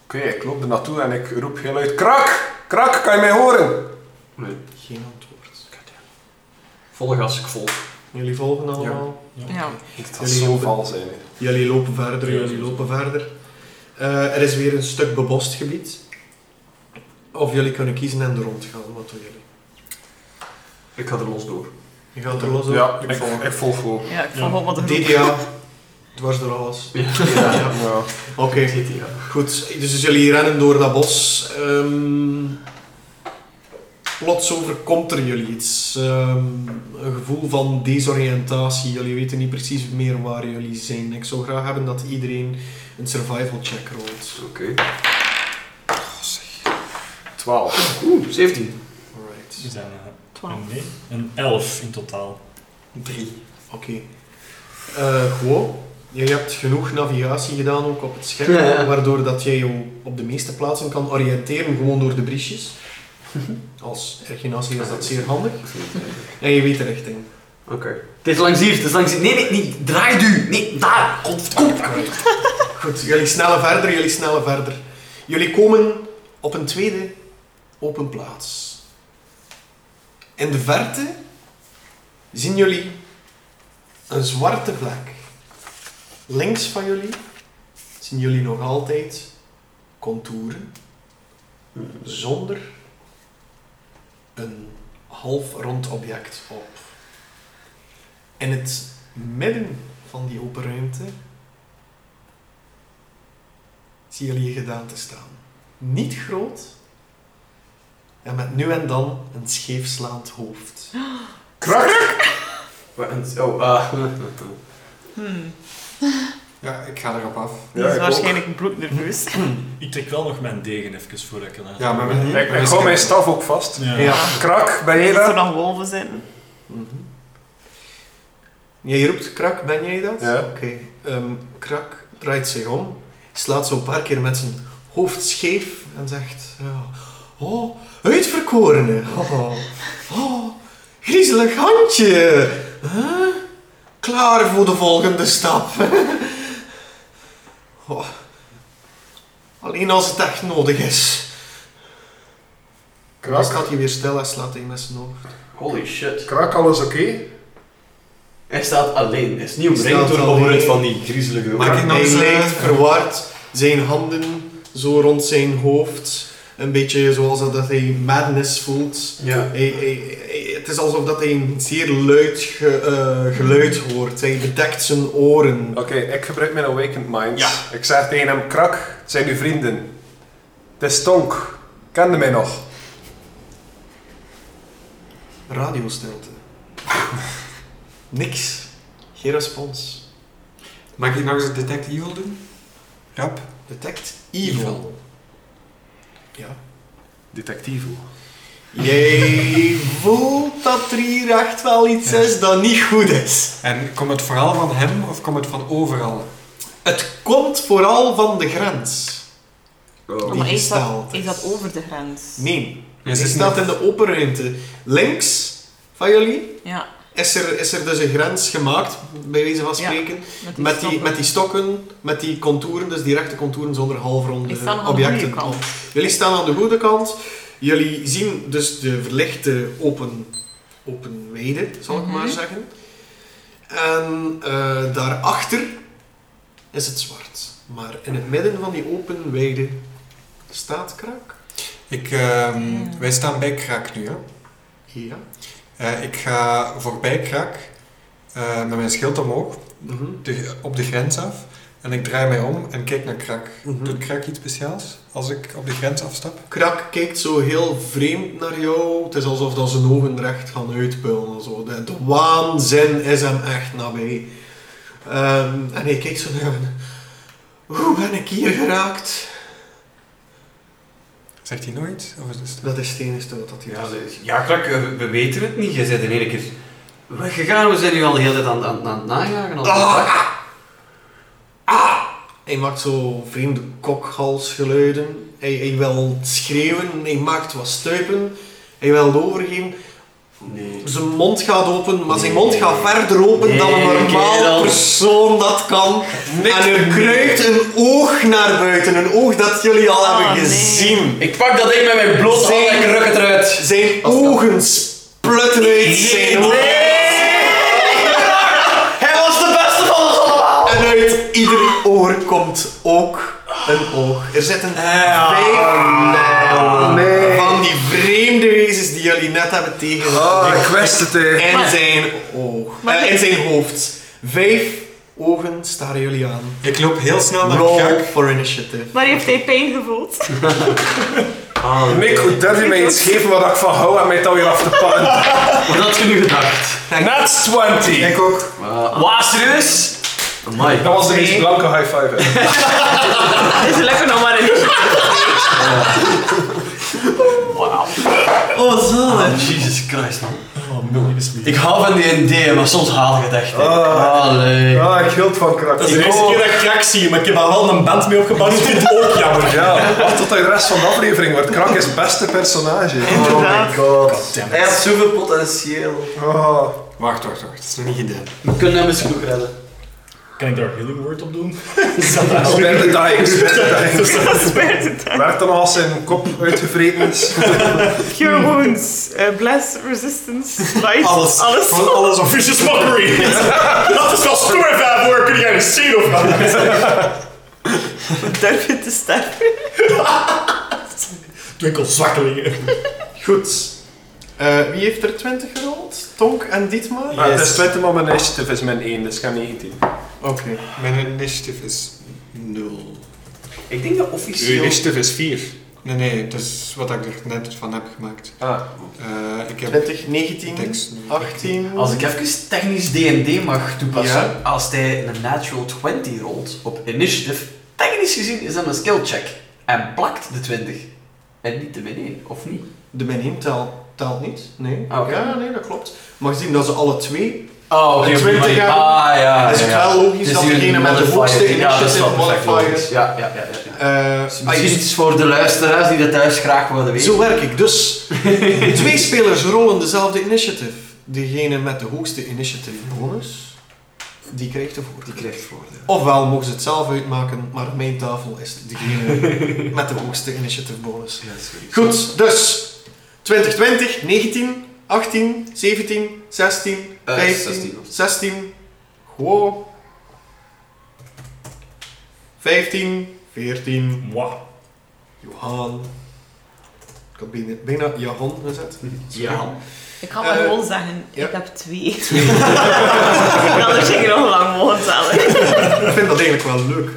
[SPEAKER 6] Oké, ik loop er naartoe en ik roep heel uit: Krak! Krak, kan je mij horen?
[SPEAKER 1] Nee.
[SPEAKER 2] Geen antwoord.
[SPEAKER 1] Volle gas, ik volg.
[SPEAKER 2] Jullie volgen allemaal.
[SPEAKER 3] Ja.
[SPEAKER 6] Het
[SPEAKER 2] Jullie
[SPEAKER 6] zal zo
[SPEAKER 2] lopen.
[SPEAKER 6] val zijn. hè.
[SPEAKER 2] Jullie lopen verder,
[SPEAKER 4] Ja,
[SPEAKER 2] jullie
[SPEAKER 4] zo.
[SPEAKER 2] lopen verder. Eh, er is weer een stuk bebost gebied. Of jullie kunnen kiezen en er rond gaan. Wat doen jullie?
[SPEAKER 1] Ik ga er los door.
[SPEAKER 2] Je gaat er los op.
[SPEAKER 6] Ja,
[SPEAKER 2] ik
[SPEAKER 6] ik, volg. Ik volg gewoon.
[SPEAKER 3] Ja, ik
[SPEAKER 4] Ja.
[SPEAKER 3] volg op wat de groep.
[SPEAKER 2] DDA. Dwars door alles.
[SPEAKER 1] Ja.
[SPEAKER 6] Ja.
[SPEAKER 2] Oké.
[SPEAKER 1] Zit hier, ja.
[SPEAKER 2] Goed, dus jullie rennen door dat bos. Ehm, plots overkomt er jullie iets. Ehm, een gevoel van desoriëntatie. Jullie weten niet precies meer waar jullie zijn. Ik zou graag hebben dat iedereen een survival check rolt.
[SPEAKER 1] Oké.
[SPEAKER 6] 12.
[SPEAKER 1] Oeh, 17.
[SPEAKER 4] We
[SPEAKER 2] Alright.
[SPEAKER 4] zijn eh,
[SPEAKER 3] Twaalf.
[SPEAKER 1] Oh.
[SPEAKER 4] een, nee, een 11 in totaal.
[SPEAKER 2] Drie. Oké. Eh Guo, jij hebt genoeg navigatie gedaan ook op het schip,
[SPEAKER 1] Ja.
[SPEAKER 2] waardoor dat jij je op de meeste plaatsen kan oriënteren, gewoon door de briesjes. Als erginatie is dat zeer handig. En je weet de richting.
[SPEAKER 1] Oké. Het is langs hier, het is langs hier. Nee, nee, niet. Draai nu. Nee, daar. Kom, kom.
[SPEAKER 2] Goed, jullie snellen verder, jullie snellen verder. Jullie komen op een tweede open plaats. In de verte zien jullie een zwarte vlek. Links van jullie zien jullie nog altijd contouren zonder een half rond object op. In het midden van die open ruimte zie jullie je gedaante staan. Niet groot en met nu en dan een scheefslaand hoofd.
[SPEAKER 1] Krak. Oh, ah.
[SPEAKER 3] Hmm.
[SPEAKER 5] Ja, ik ga erop af.
[SPEAKER 3] Die
[SPEAKER 6] Ja,
[SPEAKER 3] is
[SPEAKER 6] ik
[SPEAKER 3] waarschijnlijk bloednerveus.
[SPEAKER 4] Ik trek wel nog mijn degen even voor ik kan
[SPEAKER 5] Ja, maar
[SPEAKER 6] ook. Ik, ik hou mijn staf ook vast.
[SPEAKER 4] Ja.
[SPEAKER 6] Krak, ben
[SPEAKER 3] Er
[SPEAKER 6] je
[SPEAKER 3] er
[SPEAKER 6] daar?
[SPEAKER 3] nog wolven zijn.
[SPEAKER 2] Mhm. Jij roept krak, ben jij dat?
[SPEAKER 6] Ja.
[SPEAKER 2] Oké. Ehm, krak draait zich om, slaat zo een paar keer met zijn hoofd scheef en zegt: ja, Oh, uitverkorene. Oh, oh, griezelig handje. Huh? Klaar voor de volgende stap. Oh, alleen als het echt nodig is. Dan
[SPEAKER 6] Krak,
[SPEAKER 2] staat hij weer stil en slaat hij met zijn hoofd.
[SPEAKER 1] Holy shit.
[SPEAKER 6] krak alles oké?
[SPEAKER 1] Hij staat alleen. Hij is niet
[SPEAKER 2] Staat
[SPEAKER 1] omringd door
[SPEAKER 2] alleen.
[SPEAKER 1] overheid van die griezelige...
[SPEAKER 5] Maar- Maak ik nog
[SPEAKER 2] hij
[SPEAKER 5] eens eh, een-
[SPEAKER 2] lijkt verward, zijn handen zo rond zijn hoofd. Een beetje zoals dat hij madness voelt.
[SPEAKER 1] Ja.
[SPEAKER 2] Hij- hij- hij- het is alsof dat hij een zeer luid ge- eh, geluid hoort. Hij bedekt zijn oren.
[SPEAKER 6] Oké, ik gebruik mijn awakened mind.
[SPEAKER 2] Ja.
[SPEAKER 6] Ik zeg tegen hem, krak, het zijn uw vrienden. Het is Tonk. Kende mij nog.
[SPEAKER 2] Radiostilte. Niks. Geen respons.
[SPEAKER 5] Mag ik nog eens Detect Evil doen? Rap.
[SPEAKER 2] Detect evil. Ja.
[SPEAKER 6] Detectivo.
[SPEAKER 2] Jij voelt dat er hier echt wel iets
[SPEAKER 5] Ja.
[SPEAKER 2] is dat niet goed is.
[SPEAKER 5] En komt het vooral van hem of komt het van overal?
[SPEAKER 2] Het komt vooral van de grens.
[SPEAKER 1] Oh.
[SPEAKER 2] Die
[SPEAKER 3] Maar is dat,
[SPEAKER 2] gestaald
[SPEAKER 3] is
[SPEAKER 2] is.
[SPEAKER 3] dat over de grens?
[SPEAKER 2] Nee,
[SPEAKER 5] Hij
[SPEAKER 2] hij
[SPEAKER 5] zit
[SPEAKER 2] staat
[SPEAKER 5] nog-
[SPEAKER 2] in de open ruimte. Links van jullie
[SPEAKER 3] Ja,
[SPEAKER 2] is er, is er dus een grens gemaakt, bij wijze van
[SPEAKER 3] Ja,
[SPEAKER 2] spreken.
[SPEAKER 3] met die,
[SPEAKER 2] met, die,
[SPEAKER 3] stoppen.
[SPEAKER 2] met die stokken, met die contouren, dus die rechte contouren zonder halfronde
[SPEAKER 3] Ik sta nog aan de
[SPEAKER 2] objecten.
[SPEAKER 3] goede kant.
[SPEAKER 2] Jullie staan aan de goede kant. Jullie zien dus de verlichte open, open weide, zal
[SPEAKER 3] Mhm.
[SPEAKER 2] ik maar zeggen. En eh, daarachter is het zwart. Maar in het midden van die open weide staat krak.
[SPEAKER 5] Ik, ehm,
[SPEAKER 3] Ja.
[SPEAKER 5] Wij staan bij Krak nu, hè?
[SPEAKER 2] Ja.
[SPEAKER 5] Eh, ik ga voorbij Krak eh, met mijn schild omhoog,
[SPEAKER 2] Mhm.
[SPEAKER 5] de, op de grens af. En ik draai mij om en kijk naar Krak.
[SPEAKER 2] Mhm.
[SPEAKER 5] Doet Krak iets speciaals als ik op de grens afstap?
[SPEAKER 2] Krak kijkt zo heel vreemd naar jou. Het is alsof dat zijn ogen recht gaan uitpuilen. en Zo. De, de waanzin is hem echt nabij. Ehm, en hij kijkt zo naar hem. Hoe ben ik hier geraakt?
[SPEAKER 5] Zegt hij nooit? Of is het stil?
[SPEAKER 2] Dat is het enige wat hij
[SPEAKER 1] Ja,
[SPEAKER 2] doet.
[SPEAKER 1] ze- ja, Krak, eh, we, we weten het niet. Je bent in één keer weggegaan. We zijn nu al de hele tijd aan, aan, aan het najagen. Al
[SPEAKER 2] Hij maakt zo vreemde kokhalsgeluiden. Hij, hij wil schreeuwen. Hij maakt wat stuipen. Hij wil overgeven.
[SPEAKER 1] Nee.
[SPEAKER 2] Zijn mond gaat open, maar zijn
[SPEAKER 1] Nee.
[SPEAKER 2] mond gaat verder open dan een
[SPEAKER 1] Nee,
[SPEAKER 2] normaal
[SPEAKER 1] kerel.
[SPEAKER 2] persoon dat kan.
[SPEAKER 1] Niks
[SPEAKER 2] en er
[SPEAKER 1] meer.
[SPEAKER 2] kruipt een oog naar buiten, een oog dat jullie al
[SPEAKER 3] Ah,
[SPEAKER 2] hebben
[SPEAKER 3] nee.
[SPEAKER 2] gezien.
[SPEAKER 1] Ik pak dat ding met mijn blote hand en ik ruk het eruit.
[SPEAKER 2] Zijn ogen spluiten uit zijn
[SPEAKER 1] Nee.
[SPEAKER 2] Hij was de beste van ons allemaal! En uit ieder oor komt ook een oog. Er zitten vijf mijlen
[SPEAKER 6] nee.
[SPEAKER 2] van die vreemde wezens die jullie net hebben tegengehouden.
[SPEAKER 6] Ah, ik wist het, hè.
[SPEAKER 2] In
[SPEAKER 3] Maar-
[SPEAKER 2] zijn oog.
[SPEAKER 3] Maar-
[SPEAKER 2] Eh, in zijn hoofd. Vijf ogen staren jullie aan.
[SPEAKER 5] Ik loop heel snel naar
[SPEAKER 2] Roll
[SPEAKER 5] Krak.
[SPEAKER 2] for initiative.
[SPEAKER 3] Maar heeft hij pijn gevoeld?
[SPEAKER 1] Ah,
[SPEAKER 6] Nick, hoe durf je mij iets geven wat ik van hou en mij dan weer af te pakken?
[SPEAKER 1] Wat had je nu gedacht?
[SPEAKER 6] That's 20!
[SPEAKER 5] Ik ook.
[SPEAKER 1] Uh, Waar, serieus? Amai.
[SPEAKER 6] Dat was de meest blanke high five. hè.
[SPEAKER 3] is lekker nog maar een
[SPEAKER 2] Oh, zo.
[SPEAKER 1] Oh, Jesus Christ, man.
[SPEAKER 4] Oh, mooi is
[SPEAKER 1] Ik hou van die ideeën, maar soms haal ik het echt. hè. Allee.
[SPEAKER 6] Ah, ik hield van krak.
[SPEAKER 4] Dat is de eerste keer dat ik krak zie, maar ik heb daar wel een band mee opgebouwd. Ik vind het ook jammer.
[SPEAKER 6] Ja, wacht tot de rest van de aflevering wordt. Krak is het beste personage.
[SPEAKER 3] Inderdaad.
[SPEAKER 6] god.
[SPEAKER 1] Hij heeft zoveel potentieel.
[SPEAKER 6] Ah.
[SPEAKER 5] Wacht, wacht, wacht. Het is nog niet gedaan.
[SPEAKER 1] We kunnen hem misschien nog redden.
[SPEAKER 4] Kan ik daar healing word op doen?
[SPEAKER 6] Spare the dying, spare the dying.
[SPEAKER 3] spijt.
[SPEAKER 6] Werkt dan nog als zijn kop uitgevreten is.
[SPEAKER 3] Cure wounds, eh, bless, resistance, light,
[SPEAKER 5] Alles.
[SPEAKER 3] alles.
[SPEAKER 5] Gewoon alles op.
[SPEAKER 4] Vicious mockery! dat is wel stoer vijf woorden, kun jij niet zien of wat?
[SPEAKER 3] Durf je te sterven?
[SPEAKER 4] Twinkel zwakkelingen.
[SPEAKER 2] Goed. Eh, wie heeft er 20 gerold? Tonk en Dietmar?
[SPEAKER 6] Ah, het is 20, maar mijn initiative is mijn 1, dus ik heb 19.
[SPEAKER 2] Oké.
[SPEAKER 5] Mijn initiative is 0.
[SPEAKER 1] Ik denk dat officieel...
[SPEAKER 6] initiative is 4.
[SPEAKER 5] Nee, nee, het is wat ik er net van heb gemaakt.
[SPEAKER 2] Ah,
[SPEAKER 5] Eh, ik heb
[SPEAKER 2] 20, 19,
[SPEAKER 5] tekst nu.
[SPEAKER 2] 18.
[SPEAKER 1] Als ik even technisch D&D mag toepassen,
[SPEAKER 2] Ja.
[SPEAKER 1] als hij een natural 20 rolt op initiative, technisch gezien is dat een skill check. En plakt de 20. En niet de min 1, of niet?
[SPEAKER 2] De min 1 tel, telt niet. Nee.
[SPEAKER 1] Ah, oké.
[SPEAKER 2] Ja, nee, dat klopt. Maar zien dat ze alle twee.
[SPEAKER 1] Oh,
[SPEAKER 2] oké, op die 20 manier.
[SPEAKER 1] Ah, ja.
[SPEAKER 2] Het is
[SPEAKER 1] ja,
[SPEAKER 2] wel
[SPEAKER 1] ja.
[SPEAKER 2] logisch
[SPEAKER 1] Dus
[SPEAKER 2] dat
[SPEAKER 1] hier
[SPEAKER 2] degene met de
[SPEAKER 1] modifier-
[SPEAKER 2] hoogste
[SPEAKER 1] ja, dat is wel
[SPEAKER 2] initiative
[SPEAKER 1] perfect
[SPEAKER 2] modifiers.
[SPEAKER 1] logisch. Ja, ja, ja. ja, ja.
[SPEAKER 2] eh,
[SPEAKER 1] Ah, iets voor de luisteraars die dat thuis graag willen weten.
[SPEAKER 2] Zo werk ik dus. Twee spelers rollen dezelfde initiative. Degene met de hoogste initiative bonus, die krijgt de
[SPEAKER 1] Die
[SPEAKER 2] voordeel.
[SPEAKER 1] krijgt voordeel.
[SPEAKER 2] Ofwel mogen ze het zelf uitmaken, maar op mijn tafel is het degene met de hoogste initiative bonus.
[SPEAKER 1] Ja, sorry.
[SPEAKER 2] Goed, dus 2020, 19, 18, 17, 16,
[SPEAKER 1] Eh,
[SPEAKER 2] 15, 16.
[SPEAKER 1] 16.
[SPEAKER 2] Wow. 15, 14,
[SPEAKER 4] Mwah.
[SPEAKER 2] Johan. Ik had bijna, bijna Johan gezet.
[SPEAKER 1] Ja.
[SPEAKER 7] Ik ga maar
[SPEAKER 2] Eh,
[SPEAKER 7] gewoon zeggen,
[SPEAKER 2] ja.
[SPEAKER 7] ik heb twee. Anders ging ik nog lang mogen tellen.
[SPEAKER 2] Ik vind dat eigenlijk wel leuk.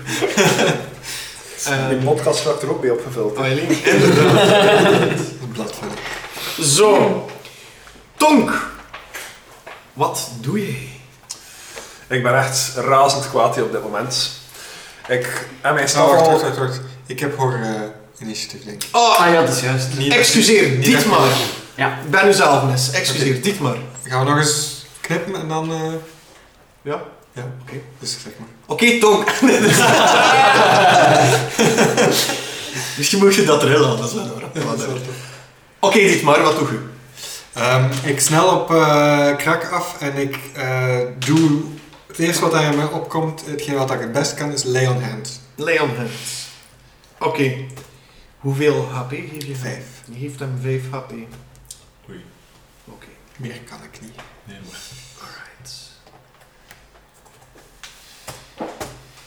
[SPEAKER 6] Die
[SPEAKER 2] Eh,
[SPEAKER 6] podcast werd er ook bij opgevuld. hè.
[SPEAKER 2] Eileen, inderdaad.
[SPEAKER 5] een blad van.
[SPEAKER 2] Zo. Tonk. Wat doe je?
[SPEAKER 6] Ik ben echt razend kwaad hier op dit moment. Ik en mijn
[SPEAKER 5] Oh,
[SPEAKER 6] staf
[SPEAKER 5] wacht, wacht,
[SPEAKER 6] al...
[SPEAKER 5] wacht, wacht. Ik heb voor eh initiatief, denk ik.
[SPEAKER 2] Oh,
[SPEAKER 1] Ah ja, dat is juist.
[SPEAKER 5] Niet dat-
[SPEAKER 2] excuseer,
[SPEAKER 5] niet
[SPEAKER 2] dit
[SPEAKER 5] dat-
[SPEAKER 2] maar.
[SPEAKER 1] Ja.
[SPEAKER 2] Ik ben u zelf nes. Excuseer,
[SPEAKER 5] Oké.
[SPEAKER 2] dit maar.
[SPEAKER 5] Gaan we nog eens knippen en dan... eh,
[SPEAKER 2] Ja.
[SPEAKER 5] Ja, oké.
[SPEAKER 2] Oké.
[SPEAKER 5] Dus zeg maar.
[SPEAKER 2] Oké, Tonk. dus- Misschien moet Dus je dat erin laten, dat is wel een rap. Oké, dit maar, wat doe je?
[SPEAKER 5] Ehm, ik snel op eh, krak af en ik eh, doe... Het eerste wat daar in me opkomt, hetgeen wat ik het best kan, is lay on hand.
[SPEAKER 2] Leon Hens. Oké. Hoeveel HP geef je hem?
[SPEAKER 5] Vijf.
[SPEAKER 2] Je geeft hem 5 HP. Oké.
[SPEAKER 4] Oei.
[SPEAKER 5] Meer kan ik niet.
[SPEAKER 4] Nee, maar.
[SPEAKER 2] Alright.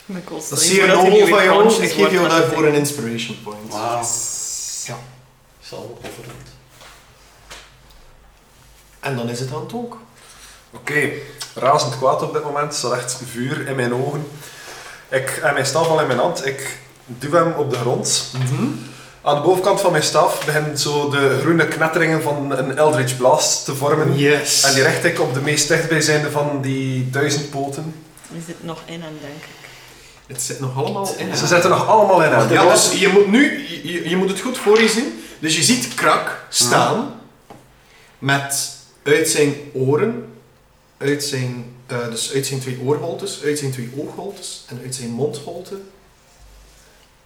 [SPEAKER 3] Mijn kost.
[SPEAKER 2] Dat is zeer nobel van jou. Ik geef jou daarvoor een inspiration point.
[SPEAKER 1] Wauw.
[SPEAKER 5] Ja.
[SPEAKER 1] Zal overland.
[SPEAKER 2] En dan is het aan Tonk.
[SPEAKER 6] Oké, razend kwaad op dit moment. Er staat echt vuur in mijn ogen. Ik en mijn staf al in mijn hand. Ik duw hem op de grond. Aan de bovenkant van mijn staf begint zo de groene knetteringen van een Eldritch Blast te vormen.
[SPEAKER 2] Yes.
[SPEAKER 6] En die richt ik op de meest dichtbijzijnde van die duizend poten.
[SPEAKER 7] Er zit nog in hem, denk ik.
[SPEAKER 2] Het zit nog allemaal in.
[SPEAKER 6] Ze zitten nog allemaal in hem.
[SPEAKER 2] Ja, dus je moet nu, je, je moet het goed voor je zien. Dus je ziet Krak staan
[SPEAKER 5] Ah.
[SPEAKER 2] met uit zijn oren, uit zijn, eh, dus uit zijn twee oorholtes, uit zijn twee oogholtes en uit zijn mondholte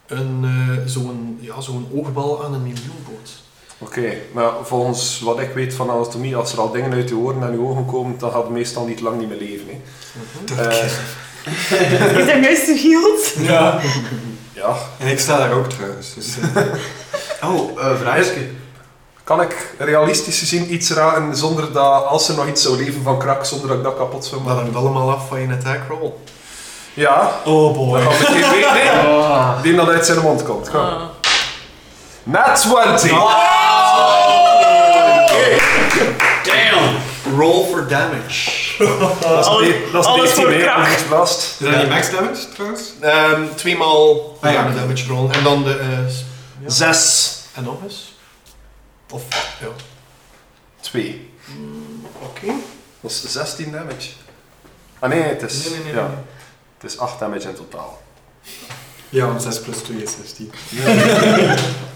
[SPEAKER 2] een, eh, zo'n ja, zo'n oogbal aan een miljoenpoot.
[SPEAKER 6] Oké, maar volgens wat ik weet van anatomie, als er al dingen uit je oren en je ogen komen, dan gaat het meestal niet lang niet meer leven. Hè. Eh,
[SPEAKER 7] Is hem juist geheeld?
[SPEAKER 5] Ja.
[SPEAKER 6] ja,
[SPEAKER 5] En ik sta daar ook trouwens. Dus, eh,
[SPEAKER 1] Oh, eh vraagje.
[SPEAKER 6] Kan ik realistisch gezien iets raken zonder dat, als er nog iets zou leven van krak, zonder dat ik dat kapot zou
[SPEAKER 2] Maar
[SPEAKER 6] maken?
[SPEAKER 2] dat hangt allemaal af van je attack roll.
[SPEAKER 6] Ja,
[SPEAKER 4] Oh
[SPEAKER 6] dan
[SPEAKER 4] boy.
[SPEAKER 6] gaan we meteen weten, hè.
[SPEAKER 1] Ah.
[SPEAKER 6] die dat uit zijn mond komt. Kom.
[SPEAKER 7] Ah.
[SPEAKER 6] Nat 20!
[SPEAKER 2] Ah.
[SPEAKER 1] Damn!
[SPEAKER 2] Roll for damage.
[SPEAKER 6] Dat is
[SPEAKER 7] Alles-
[SPEAKER 6] een D- dat
[SPEAKER 7] alles
[SPEAKER 6] is Eh, een
[SPEAKER 7] voor
[SPEAKER 6] D10
[SPEAKER 7] krak.
[SPEAKER 6] meer, blast.
[SPEAKER 5] Is dat niet max damage trouwens?
[SPEAKER 2] Ehm tweemaal
[SPEAKER 5] Ah ja.
[SPEAKER 2] damage roll. En dan de... eh, s- Ja.
[SPEAKER 6] 6,
[SPEAKER 2] en nog eens? Of... Ja.
[SPEAKER 6] 2.
[SPEAKER 2] Oké.
[SPEAKER 6] Dat is 16 damage. Ah nee, het is,
[SPEAKER 2] Nee, nee, nee,
[SPEAKER 6] ja,
[SPEAKER 2] nee.
[SPEAKER 6] Het is 8 damage in totaal.
[SPEAKER 5] Ja, want 6 plus 2 is 16.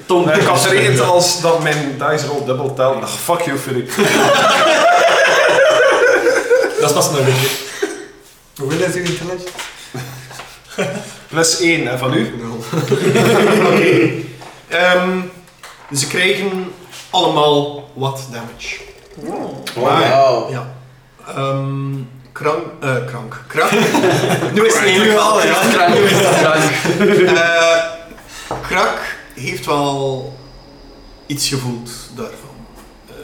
[SPEAKER 1] Tom,
[SPEAKER 6] ik had geregend als dat mijn dice roll dubbel telt. Ach, fuck you, Philip.
[SPEAKER 5] Dat is pas een beetje. Hoeveel is uw intelligence?
[SPEAKER 6] Plus 1, en van u?
[SPEAKER 5] 0.
[SPEAKER 2] Oké. Ehm, ze krijgen allemaal wat damage.
[SPEAKER 1] Oh, Wow.
[SPEAKER 2] Ja. Ehm, krank... eh, krank. Krak. nu is het illegaal, ja. Eh, krak heeft wel iets gevoeld daarvan. Eh,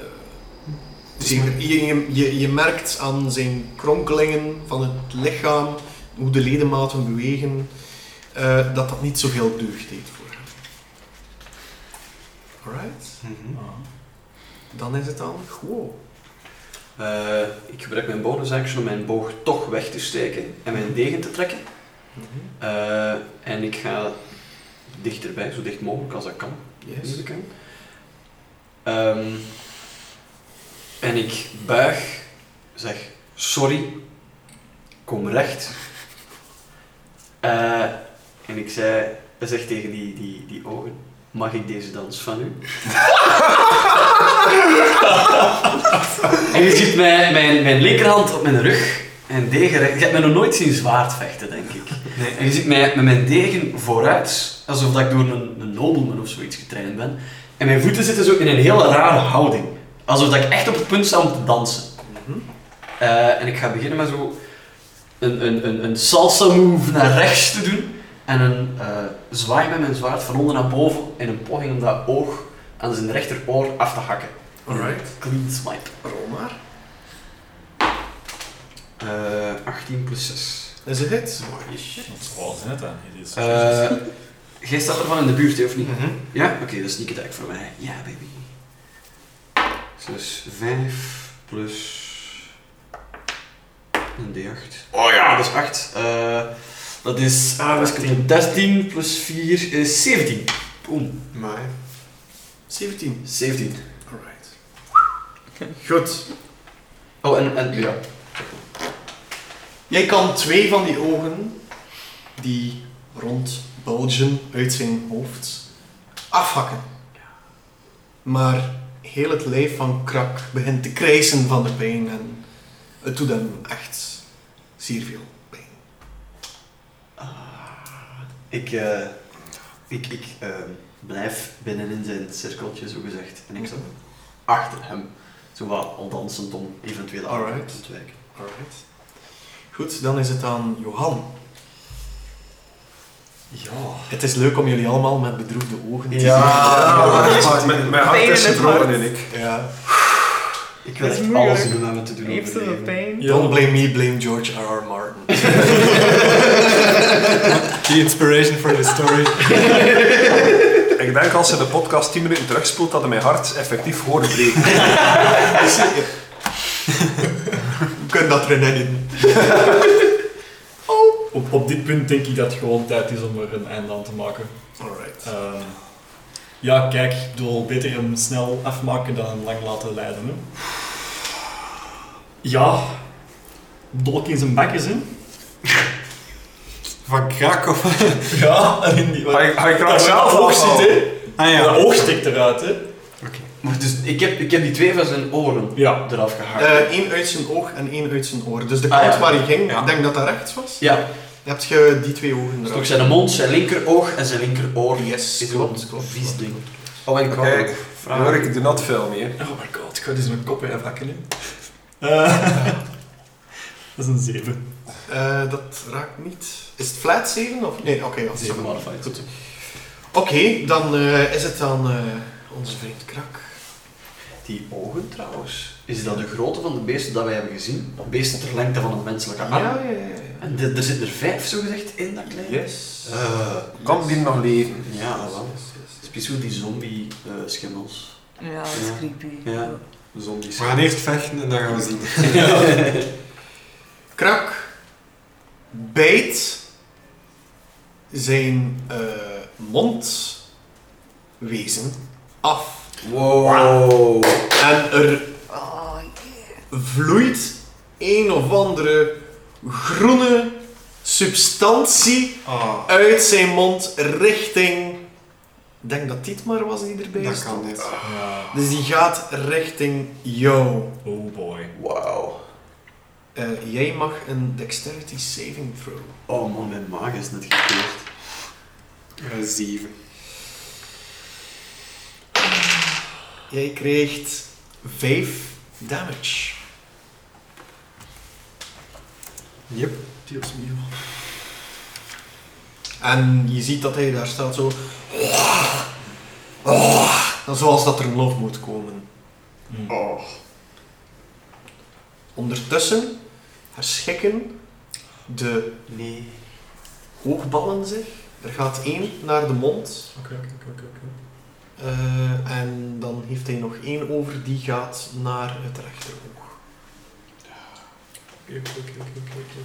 [SPEAKER 2] zeker, je, je- je, je merkt aan zijn kronkelingen van het lichaam, hoe de ledematen bewegen, eh, dat dat niet zoveel deugd deed voor hem. Alright, dan is het dan gewoon.
[SPEAKER 1] Eh, ik gebruik mijn bonus action om mijn boog toch weg te steken en mijn degen te trekken.
[SPEAKER 2] Mhm,
[SPEAKER 1] Eh, en ik ga dichterbij, zo dicht mogelijk als dat kan.
[SPEAKER 2] Yes.
[SPEAKER 1] Even kijken. Ehm, en ik buig, zeg sorry, kom recht. Eh, en ik zei, zeg tegen die, die, die ogen, mag ik deze dans van u? en je ziet mijn, mijn, mijn linkerhand op mijn rug en degen recht. Je hebt mij nog nooit zien zwaard vechten, denk ik. En je ziet mij met mijn degen vooruit, alsof dat ik door een, een nobleman of zoiets getraind ben. En mijn voeten zitten zo in een hele rare houding. Alsof dat ik echt op het punt sta om te dansen. Eh, en ik ga beginnen met zo een, een, een, een salsa move naar rechts te doen. En een eh, zwaai met mijn zwaard van onder naar boven in een poging om dat oog aan zijn rechteroor af te hakken.
[SPEAKER 2] Alright.
[SPEAKER 1] Clean swipe.
[SPEAKER 2] Rol maar.
[SPEAKER 1] Eh, 18 plus 6.
[SPEAKER 2] Dat is een hit.
[SPEAKER 1] Mooi.
[SPEAKER 4] Oh, zijn het dan? Dit is-
[SPEAKER 1] Eh, Jij staat ervan in de buurt, hè, of niet?
[SPEAKER 2] Mhm.
[SPEAKER 1] Ja? Oké, dat is niet attack voor mij. Ja, baby. Dus 5 plus een D8. Oh ja, dat is 8. Eh, dat is ah, dat is kapot. 13 plus 4 is 17. Boom.
[SPEAKER 5] Maar
[SPEAKER 2] 17.
[SPEAKER 1] 17.
[SPEAKER 2] Alright. Goed.
[SPEAKER 1] Oh, en, en ja.
[SPEAKER 2] Jij kan twee van die ogen, die rond bulgen uit zijn hoofd, afhakken. Maar heel het lijf van Krak begint te krijsen van de pijn en het doet hem echt zeer veel pijn.
[SPEAKER 1] Ik, eh, ik, ik eh, blijf binnen in zijn cirkeltje, zo gezegd. En ik sta achter hem. Zo wat al dansend om eventuele
[SPEAKER 2] Alright.
[SPEAKER 1] aanvallen te ontwijken.
[SPEAKER 2] Alright. Goed, dan is het aan Johan.
[SPEAKER 4] Ja.
[SPEAKER 2] Het is leuk om jullie allemaal met bedroefde ogen te
[SPEAKER 6] Ja,
[SPEAKER 2] zien.
[SPEAKER 6] ja, mijn, Ah, mijn hart is
[SPEAKER 7] Pijn in het
[SPEAKER 6] gebroken en ik.
[SPEAKER 2] Ja.
[SPEAKER 1] Ik wil
[SPEAKER 3] Dat is
[SPEAKER 1] echt
[SPEAKER 3] moeilijk.
[SPEAKER 1] alles doen om hem te doen
[SPEAKER 7] Heeft
[SPEAKER 1] overleven.
[SPEAKER 7] zoveel pijn.
[SPEAKER 2] Don't blame me, blame George R.R. Martin.
[SPEAKER 5] the inspiration for the story.
[SPEAKER 6] Ik denk als ze de podcast 10 minuten terugspoelt, dat mijn hart effectief hoorde breken.
[SPEAKER 2] We kunnen dat erin editen.
[SPEAKER 4] Op, op dit punt denk ik dat het gewoon tijd is om er een einde aan te maken.
[SPEAKER 2] Alright.
[SPEAKER 4] Ehm, ja, kijk, ik bedoel, beter hem snel afmaken dan hem lang laten leiden. Hè? Ja, dolk in zijn bek is, hè?
[SPEAKER 5] Van Krakow.
[SPEAKER 4] Ja, en in die...
[SPEAKER 6] Hij, hij
[SPEAKER 4] Dat
[SPEAKER 6] kraakt zelf
[SPEAKER 4] oog
[SPEAKER 6] ook
[SPEAKER 4] ziet, hè?
[SPEAKER 5] Ah
[SPEAKER 4] Dat
[SPEAKER 5] ja.
[SPEAKER 4] oog steekt eruit, hè?
[SPEAKER 1] Maar dus, ik, heb, ik heb die twee van zijn oren
[SPEAKER 4] Ja.
[SPEAKER 1] eraf gehakt.
[SPEAKER 2] Eén Eh, uit zijn oog en één uit zijn oor. Dus de
[SPEAKER 1] Ah,
[SPEAKER 2] kant
[SPEAKER 1] ja.
[SPEAKER 2] waar hij ging,
[SPEAKER 5] Ja.
[SPEAKER 2] ik denk dat dat rechts was.
[SPEAKER 1] ja,
[SPEAKER 2] Heb je die twee ogen
[SPEAKER 1] dus
[SPEAKER 2] eraf?
[SPEAKER 1] nog zijn mond, zijn linkeroog en zijn linkeroor.
[SPEAKER 2] Yes,
[SPEAKER 1] Is
[SPEAKER 2] klopt,
[SPEAKER 1] een
[SPEAKER 2] klopt,
[SPEAKER 1] vies
[SPEAKER 2] klopt,
[SPEAKER 1] ding.
[SPEAKER 2] klopt.
[SPEAKER 1] Oh, en ik wou
[SPEAKER 6] Oké.
[SPEAKER 1] nog vragen.
[SPEAKER 6] Hoor ik doe not film hier.
[SPEAKER 4] Oh my god, ik ga dus mijn kop weer afhakken, hè? Eh, dat is een 7.
[SPEAKER 2] Eh, dat raakt niet. Is het flat 7 of nee? Oké, ja,
[SPEAKER 1] Zeven
[SPEAKER 2] sorry.
[SPEAKER 1] modified.
[SPEAKER 2] Goed. Oké, dan eh, is het dan eh, onze vriend Krak.
[SPEAKER 1] Die ogen trouwens, is dat de grootte van de beesten dat wij hebben gezien? Beesten ter lengte van een menselijke arm.
[SPEAKER 2] ja, ja. ja.
[SPEAKER 1] En er er zitten er vijf, zogezegd, in dat kleine.
[SPEAKER 2] Yes.
[SPEAKER 1] Eh,
[SPEAKER 6] Kan die nog leven?
[SPEAKER 1] ja, dat wel.
[SPEAKER 2] Yes, yes, yes.
[SPEAKER 1] Speciaal die eh, zombie-schimmels.
[SPEAKER 3] Ja, dat is
[SPEAKER 1] Ja.
[SPEAKER 3] creepy.
[SPEAKER 1] Ja.
[SPEAKER 5] We gaan eerst vechten en dan gaan we zien.
[SPEAKER 2] Krak bijt zijn eh, mondwezen af.
[SPEAKER 1] Wow.
[SPEAKER 2] En er
[SPEAKER 7] Oh,
[SPEAKER 2] vloeit een of andere groene substantie
[SPEAKER 5] Oh,
[SPEAKER 2] uit zijn mond richting. Ik denk dat dit maar was die erbij
[SPEAKER 5] dat
[SPEAKER 2] stond.
[SPEAKER 5] kan niet.
[SPEAKER 4] Ja.
[SPEAKER 2] Dus die gaat richting jou.
[SPEAKER 4] Oh boy.
[SPEAKER 1] Wow.
[SPEAKER 2] Eh, jij mag een dexterity saving throw.
[SPEAKER 1] Oh man, mijn maag is net gekeerd.
[SPEAKER 5] Eh, Zeven.
[SPEAKER 2] Jij krijgt 5 damage.
[SPEAKER 5] Yep.
[SPEAKER 2] Dios mio. En je ziet dat hij daar staat zo. Dan zoals dat er nog moet komen. Oh.
[SPEAKER 4] Hm.
[SPEAKER 2] Ondertussen herschikken de
[SPEAKER 1] Nee.
[SPEAKER 2] hoogballen zich. Er gaat één naar de mond.
[SPEAKER 4] Oké, oké, oké, oké, oké.
[SPEAKER 2] eh, en dan heeft hij nog één over die gaat naar het rechteroog.
[SPEAKER 4] Oké, oké, oké, oké, oké, oké.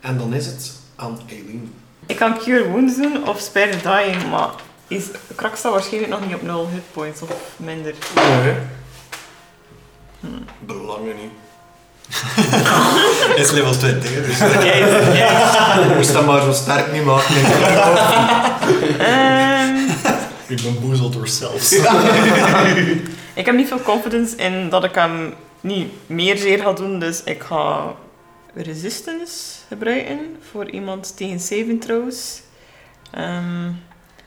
[SPEAKER 2] En dan is het aan Eileen.
[SPEAKER 7] Ik kan Cure Wounds doen of Spare Dying, maar Is, Krak staat waarschijnlijk nog niet op 0 hitpoints of minder.
[SPEAKER 2] Belangen niet.
[SPEAKER 5] Het is level 20, hè, dus
[SPEAKER 2] Ik moest dat maar zo sterk niet maken.
[SPEAKER 7] Ehm,
[SPEAKER 4] Ik ben boezeld door zelfs.
[SPEAKER 7] ik heb niet veel confidence in dat ik hem niet meer zeer ga doen, dus ik ga resistance gebruiken voor iemand tegen saving throws. Ehm,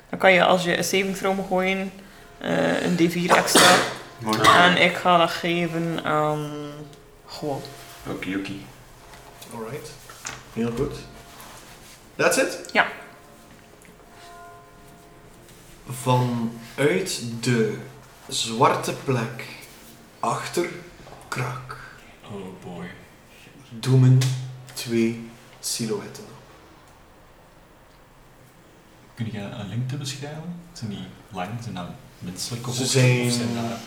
[SPEAKER 7] dan kan je als je een saving throw mag gooien, eh, een d4 extra.
[SPEAKER 5] mooi.
[SPEAKER 7] En ik ga dat geven aan... Goh.
[SPEAKER 1] Oké, oké.
[SPEAKER 2] Alright. Heel goed. That's it?
[SPEAKER 7] Ja.
[SPEAKER 2] Vanuit de zwarte plek achter Krak
[SPEAKER 4] Oh boy.
[SPEAKER 2] doemen twee silhouetten op.
[SPEAKER 4] Kun je een lengte beschrijven? Zijn die lang? Zijn dat menselijke
[SPEAKER 2] Ze
[SPEAKER 4] hoogte?
[SPEAKER 2] zijn-
[SPEAKER 4] Of zijn dat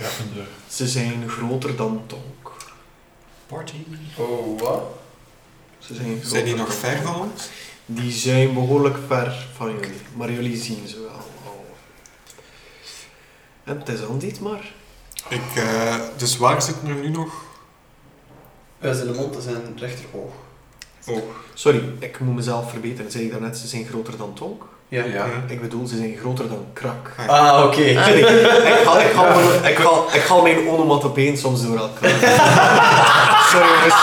[SPEAKER 4] krappende
[SPEAKER 2] Ze zijn groter dan Tonk.
[SPEAKER 4] party?
[SPEAKER 6] Oh, wat?
[SPEAKER 2] Ze zijn, groter
[SPEAKER 5] Zijn die nog
[SPEAKER 2] dan
[SPEAKER 5] ver
[SPEAKER 2] Tonk.
[SPEAKER 5] van ons?
[SPEAKER 2] Die zijn behoorlijk ver van jullie, maar jullie zien ze wel
[SPEAKER 5] Oh.
[SPEAKER 2] al. En het is aan dit maar.
[SPEAKER 5] Ik, eh, dus waar zitten er nu nog?
[SPEAKER 1] Eh,
[SPEAKER 8] Wij zijn de mond en zijn rechteroog.
[SPEAKER 2] Sorry, ik moet mezelf verbeteren. Zei ik daarnet, ze zijn groter dan Tonk?
[SPEAKER 8] Ja.
[SPEAKER 5] Ja.
[SPEAKER 2] Ik bedoel, ze zijn groter dan krak.
[SPEAKER 8] Ah, oké.
[SPEAKER 2] Sorry, ik haal, ik, haal mijn, ik, haal, ik haal mijn onomatopeen soms door elkaar. Sorry jongens.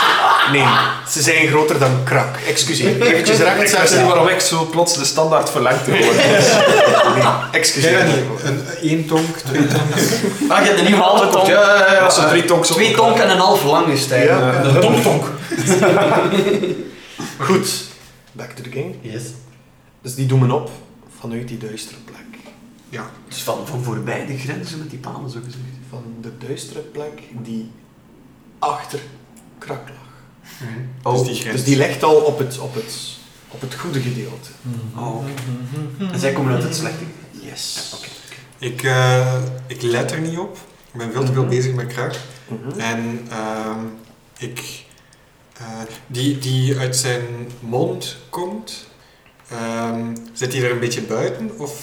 [SPEAKER 2] Nee, ze zijn groter dan krak. Excuseer. Eventjes
[SPEAKER 6] Ik
[SPEAKER 2] recht
[SPEAKER 6] zeg niet
[SPEAKER 2] zetten.
[SPEAKER 6] waarom ik zo plots de standaard verlengte word.
[SPEAKER 2] Nee,
[SPEAKER 5] Jij
[SPEAKER 2] excuseer.
[SPEAKER 5] bent niet- een, eh, één tonk, twee tonks.
[SPEAKER 8] Ah, je hebt een nieuwe halve tonk. Ja, ja, ja.
[SPEAKER 6] Dat zijn drie tonks op
[SPEAKER 8] Twee
[SPEAKER 6] elkaar.
[SPEAKER 8] tonk en een half lang is het eigenlijk.
[SPEAKER 2] Ja.
[SPEAKER 8] De
[SPEAKER 6] Tom tonk.
[SPEAKER 2] Goed. Back to the game.
[SPEAKER 8] Yes.
[SPEAKER 2] Dus die doen me op vanuit die duistere plek.
[SPEAKER 5] Ja,
[SPEAKER 1] Dus van, van voorbij de grenzen met die panen, zo gezegd.
[SPEAKER 2] Van de duistere plek die achter krak lag.
[SPEAKER 5] dus die grens.
[SPEAKER 2] Dus die ligt al op het, op het, op het goede gedeelte.
[SPEAKER 8] Mhm.
[SPEAKER 1] Oh, oké. En zij komen uit het slechte.
[SPEAKER 2] Yes.
[SPEAKER 1] Oké.
[SPEAKER 5] Ik, eh, ik let er niet op. Ik ben veel te veel
[SPEAKER 2] Mhm.
[SPEAKER 5] bezig met kracht.
[SPEAKER 2] Mhm.
[SPEAKER 5] En ehm, ik, eh, die, die uit zijn mond komt, ehm, zit hij er een beetje buiten? Of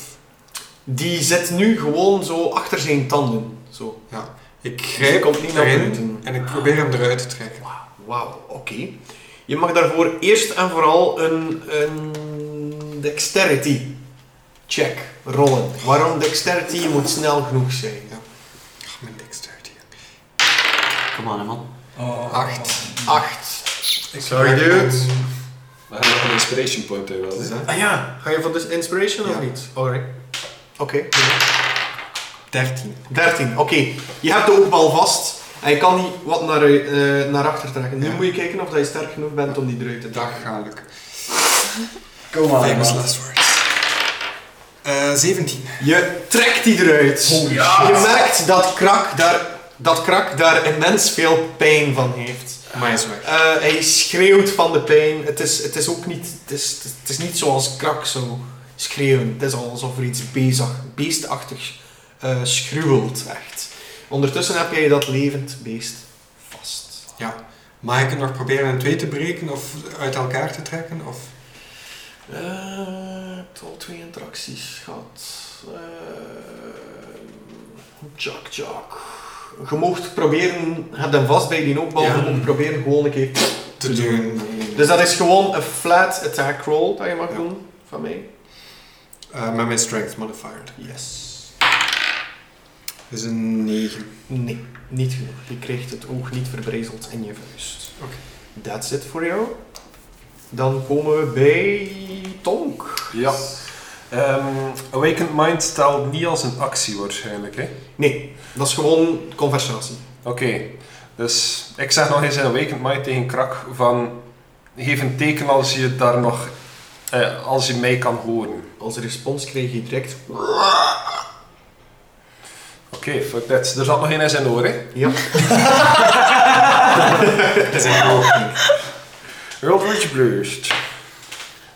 [SPEAKER 2] Die zit nu gewoon zo achter zijn tanden. Zo.
[SPEAKER 5] ik
[SPEAKER 2] Dus die
[SPEAKER 5] grijp
[SPEAKER 2] komt niet naar
[SPEAKER 5] erin
[SPEAKER 2] buiten.
[SPEAKER 5] en ik probeer hem eruit te trekken.
[SPEAKER 2] Wauw, oké. Je mag daarvoor eerst en vooral een, een dexterity check rollen. Waarom dexterity? Je moet snel genoeg zijn.
[SPEAKER 5] Ach, mijn dexterity.
[SPEAKER 1] Kom aan, hè, man.
[SPEAKER 4] Oh,
[SPEAKER 5] Acht.
[SPEAKER 2] Acht.
[SPEAKER 5] Ik
[SPEAKER 6] Sorry,
[SPEAKER 5] maak
[SPEAKER 6] dude.
[SPEAKER 5] een-
[SPEAKER 6] We hebben nog een inspiration point er wel.
[SPEAKER 5] wat is dat?
[SPEAKER 2] Ah ja, ga je van dus inspiration
[SPEAKER 5] Ja.
[SPEAKER 2] of niet? Alright. Oké.
[SPEAKER 5] 13.
[SPEAKER 2] 13, oké. Je hebt de oogbal vast en je kan die wat naar, eh, naar achter trekken. Nu
[SPEAKER 5] Ja.
[SPEAKER 2] moet je kijken of dat je sterk genoeg bent om die eruit te trekken.
[SPEAKER 5] Dag, gaarlijk.
[SPEAKER 8] Kom
[SPEAKER 1] Oh,
[SPEAKER 8] maar.
[SPEAKER 5] Famous
[SPEAKER 8] man.
[SPEAKER 5] last words. Eh, 17.
[SPEAKER 2] Je trekt die eruit. Je merkt dat krak, daar, dat krak daar immens veel pijn van heeft.
[SPEAKER 5] Maar hij is weg.
[SPEAKER 2] Eh, hij schreeuwt van de pijn. Het is, het is ook niet, het is, het is niet zoals krak zo schreeuwen. Het is alsof er iets bezig, beestachtig eh, schruwelt, echt. Ondertussen heb jij dat levend beest vast.
[SPEAKER 5] Mag ik het nog proberen in twee te breken of uit elkaar te trekken? Of...
[SPEAKER 2] Eh, al twee interacties gehad. Eh, Jack, Jack. Je mocht proberen, heb hem vast bij die noodbal,
[SPEAKER 5] Ja.
[SPEAKER 2] je mocht proberen gewoon een keer.
[SPEAKER 5] te doen.
[SPEAKER 2] Dus dat is gewoon een flat attack roll dat je mag
[SPEAKER 5] Ja.
[SPEAKER 2] doen van mij.
[SPEAKER 5] Eh, met mijn strength modifier.
[SPEAKER 2] Yes.
[SPEAKER 5] Dat is een 9.
[SPEAKER 2] Nee, niet genoeg. Je krijgt het oog niet verbrijzeld in je vuist.
[SPEAKER 5] Oké.
[SPEAKER 2] That's it voor jou. Dan komen we bij Tonk.
[SPEAKER 6] Ja. Ehm, Awakened Mind telt niet als een actie waarschijnlijk, hè?
[SPEAKER 2] Nee, dat is gewoon conversatie.
[SPEAKER 6] Oké, dus ik zeg nog eens in Awakened Mind tegen Krak van... Geef een teken als je daar nog... eh, als je mij kan horen.
[SPEAKER 2] Als respons kreeg je direct.
[SPEAKER 6] Oké, fuck that. Er zat nog één in zijn oor, hè?
[SPEAKER 2] Ja.
[SPEAKER 5] Dat is een hoog.
[SPEAKER 6] World Rage Blurst.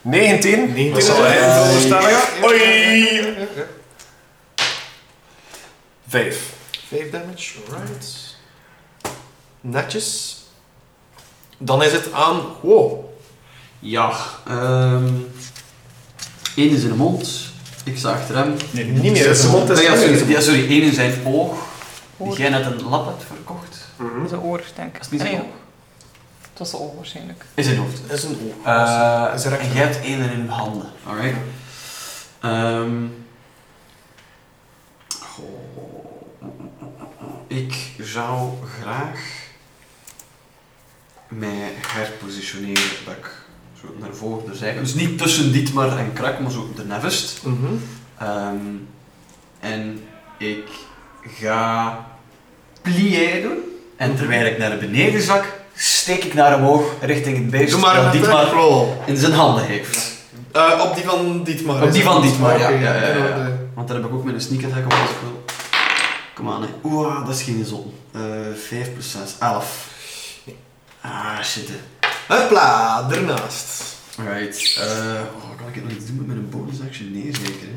[SPEAKER 6] 19.
[SPEAKER 2] 19.
[SPEAKER 6] Dat zal hij
[SPEAKER 5] Eh,
[SPEAKER 2] Oei.
[SPEAKER 6] onderstellen. Oei!
[SPEAKER 2] Ja, ja, ja.
[SPEAKER 6] 5.
[SPEAKER 2] Vijf damage, alright. Netjes. Dan is het aan. Wow.
[SPEAKER 1] Ja. ehm Eén is in de mond. Ik sta achter hem.
[SPEAKER 4] Nee,
[SPEAKER 2] Niet meer.
[SPEAKER 6] Zijn mond is
[SPEAKER 1] Nee, ja,
[SPEAKER 6] leeg.
[SPEAKER 1] sorry, ja, sorry, één in zijn oog. Die
[SPEAKER 3] Oor.
[SPEAKER 1] jij net een lap hebt verkocht.
[SPEAKER 6] Mhm.
[SPEAKER 3] Zijn oor, denk ik.
[SPEAKER 1] Is het niet zijn
[SPEAKER 3] Nee,
[SPEAKER 1] oog?
[SPEAKER 3] het was zijn oog waarschijnlijk.
[SPEAKER 1] In zijn hoofd.
[SPEAKER 2] Dat is een oog.
[SPEAKER 1] Eh,
[SPEAKER 2] Is er echt
[SPEAKER 1] en
[SPEAKER 2] een-
[SPEAKER 1] jij hebt één in je handen, alright? Ehm. goh. ik zou graag mij herpositioneren dat ik zo naar voren, naar zij. Dus niet tussen Dietmar en Krak, maar zo de Nevest.
[SPEAKER 2] Mhm.
[SPEAKER 1] Ehm, en ik ga plié doen. En terwijl ik naar beneden zak, steek ik naar omhoog richting het beest
[SPEAKER 2] Doe maar
[SPEAKER 1] dat
[SPEAKER 2] een
[SPEAKER 1] eh, Dietmar
[SPEAKER 2] attack roll.
[SPEAKER 1] in zijn handen heeft.
[SPEAKER 2] Eh, op die van Dietmar.
[SPEAKER 1] Op die van Dietmar, ja.
[SPEAKER 2] Oké,
[SPEAKER 1] ja, ja, ja,
[SPEAKER 2] dan,
[SPEAKER 1] ja.
[SPEAKER 2] eh,
[SPEAKER 1] Want daar heb ik ook mijn sneak attack op als ik wil. Kom aan, hè. Oeh, dat is geen zon. Eh 5 plus 6, 11. Ah, shit. hè.
[SPEAKER 2] Hopla, ernaast.
[SPEAKER 1] Alright. eh, oh, kan ik het nog iets doen met mijn bonus action? Nee, zeker. Hè?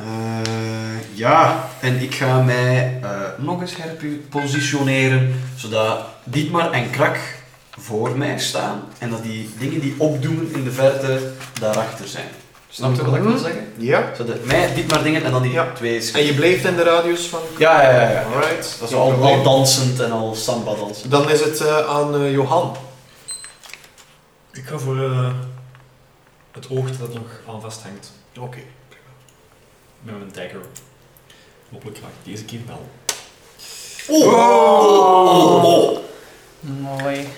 [SPEAKER 1] Eh, ja, en ik ga mij eh, nog eens herpositioneren, zodat Dietmar en Krak voor mij staan en dat die dingen die opdoemen in de verte daarachter zijn. Snap je wat ik wil
[SPEAKER 2] Mhm.
[SPEAKER 1] zeggen?
[SPEAKER 2] Ja.
[SPEAKER 1] Zodat mij Dietmar dingen en dan die
[SPEAKER 2] Ja.
[SPEAKER 1] twee
[SPEAKER 2] En je bleef in de radius van...
[SPEAKER 1] Ja, ja, ja. ja.
[SPEAKER 2] Alright.
[SPEAKER 1] Dat is al, al dansend en al samba dansend.
[SPEAKER 2] Dan is het eh, aan eh, Johan.
[SPEAKER 4] Ik ga voor eh, het oog dat nog aan vasthangt
[SPEAKER 2] Oké.
[SPEAKER 4] met mijn dagger. Hopelijk mag ik deze keer wel.
[SPEAKER 1] Oh! oh, oh.
[SPEAKER 3] Mooi.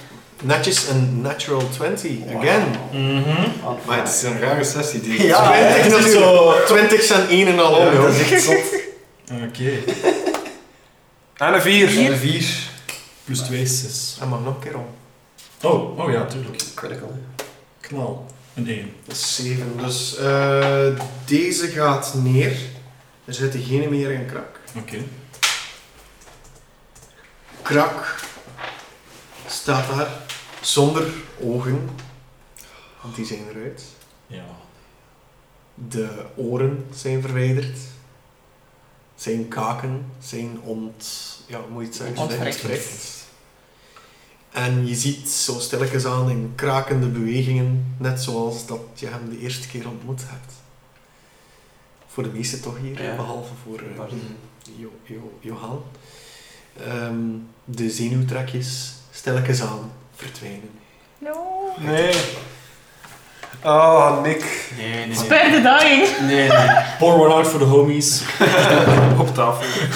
[SPEAKER 2] Netjes een natural 20. Again.
[SPEAKER 5] Maar het is een rare sessie die
[SPEAKER 1] Ja, hè,
[SPEAKER 2] Twintig
[SPEAKER 1] het is
[SPEAKER 2] natuurlijk.
[SPEAKER 1] zo.
[SPEAKER 2] 20 zijn 1 en al om, joh.
[SPEAKER 1] echt zot.
[SPEAKER 4] Oké,
[SPEAKER 6] En een vier.
[SPEAKER 1] En een vier.
[SPEAKER 4] plus 2 is 6.
[SPEAKER 2] En mag nog een keer om.
[SPEAKER 4] Oh, oh ja, tuurlijk.
[SPEAKER 1] Critical.
[SPEAKER 4] Knal. Een 1.
[SPEAKER 2] Dat is 7. Dus eh, deze gaat neer. Er zitten geen meer in krak.
[SPEAKER 4] Oké.
[SPEAKER 2] Krak staat daar zonder ogen. Want die zijn eruit.
[SPEAKER 4] Ja.
[SPEAKER 2] De oren zijn verwijderd. Zijn kaken zijn ont... Ja, hoe moet je het zeggen? Zijn
[SPEAKER 3] Ontwricht.
[SPEAKER 2] ontwricht. En je ziet zo stilletjes aan in krakende bewegingen, net zoals dat je hem de eerste keer ontmoet hebt. Voor de meeste toch hier,
[SPEAKER 1] Ja.
[SPEAKER 2] behalve voor eh,
[SPEAKER 1] Bart.
[SPEAKER 2] Jo- Jo- Johan. Ehm, de zenuwtrekjes stilletjes aan verdwijnen.
[SPEAKER 3] No.
[SPEAKER 6] Nee. Oh, Nick.
[SPEAKER 1] Nee, nee, nee.
[SPEAKER 3] Spare the dying.
[SPEAKER 1] Nee, nee.
[SPEAKER 4] Pour one out voor de homies.
[SPEAKER 6] Op tafel.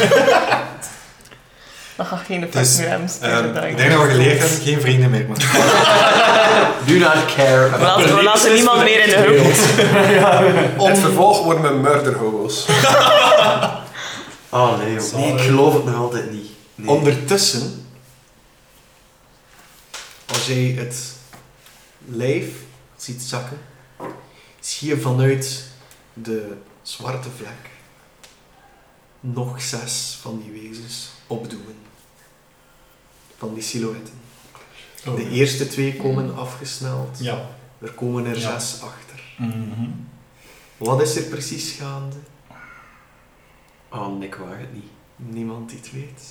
[SPEAKER 3] Dan ga ik geen effect
[SPEAKER 5] Dus,
[SPEAKER 3] meer hebben. Spare the
[SPEAKER 5] Ehm,
[SPEAKER 3] dying.
[SPEAKER 5] ik denk dat we geleerd hebben, geen vrienden meer. maken.
[SPEAKER 1] Do not care.
[SPEAKER 7] We laten, we laten niemand meer in de hulp.
[SPEAKER 6] In het vervolg worden we murder hobo's.
[SPEAKER 1] Oh nee, joh. Nee, ik geloof het nog altijd niet. Nee.
[SPEAKER 2] Ondertussen, als jij het lijf ziet zakken, zie je vanuit de zwarte vlek nog zes van die wezens opdoemen. Van die silhouetten.
[SPEAKER 4] Oh.
[SPEAKER 2] De eerste twee komen afgesneld,
[SPEAKER 4] Ja.
[SPEAKER 2] er komen er
[SPEAKER 4] Ja.
[SPEAKER 2] zes achter.
[SPEAKER 4] Mhm.
[SPEAKER 2] Wat is er precies gaande?
[SPEAKER 1] Oh, nee, ik waag het niet.
[SPEAKER 2] Niemand die het weet.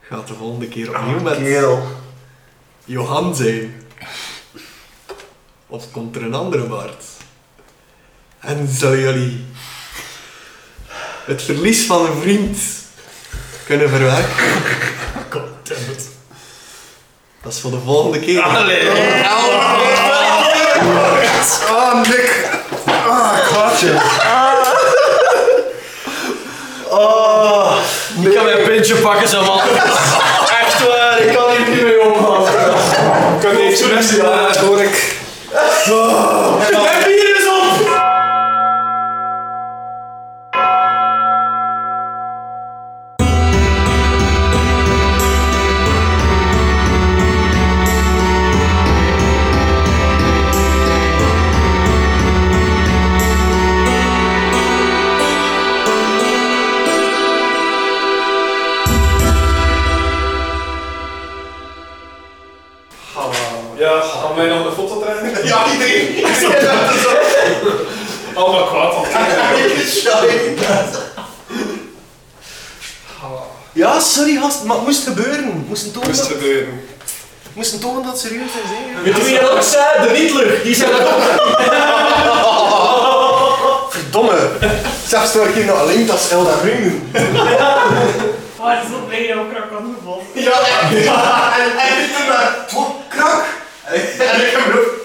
[SPEAKER 2] Gaat de volgende keer opnieuw met Johan zijn. Of komt er een andere Bart? En zullen jullie het verlies van een vriend kunnen verwerken?
[SPEAKER 4] Goddammit.
[SPEAKER 2] Dat is voor de volgende keer.
[SPEAKER 6] Ah, Nick. Ah, kwaadje.
[SPEAKER 1] Ik kan mijn pintje pakken, zo man. Echt waar, ik kan hier niet mee omgaan.
[SPEAKER 6] Kan je even best doen, hoor ik.
[SPEAKER 1] Mijn bier is op!
[SPEAKER 6] Ja, gaan wij nog de foto trekken? Ja, iedereen. Allemaal kwaad van.
[SPEAKER 2] Ja, sorry gast, maar het moest gebeuren. Moest een toon.
[SPEAKER 6] Moest gebeuren.
[SPEAKER 1] moesten tonen dat het serieus is, hè?
[SPEAKER 9] Weet je wie dat ook zei? De Hitler! Die zei dat ook.
[SPEAKER 1] Verdomme! Zelfs toen ik hier nog alleen als Elda Ring.
[SPEAKER 3] Maar zo blij dat ik krak aan de bal.
[SPEAKER 1] Ja, echt. En, en ik Oh, ben daar, "Wat, krak! En ik heb me ook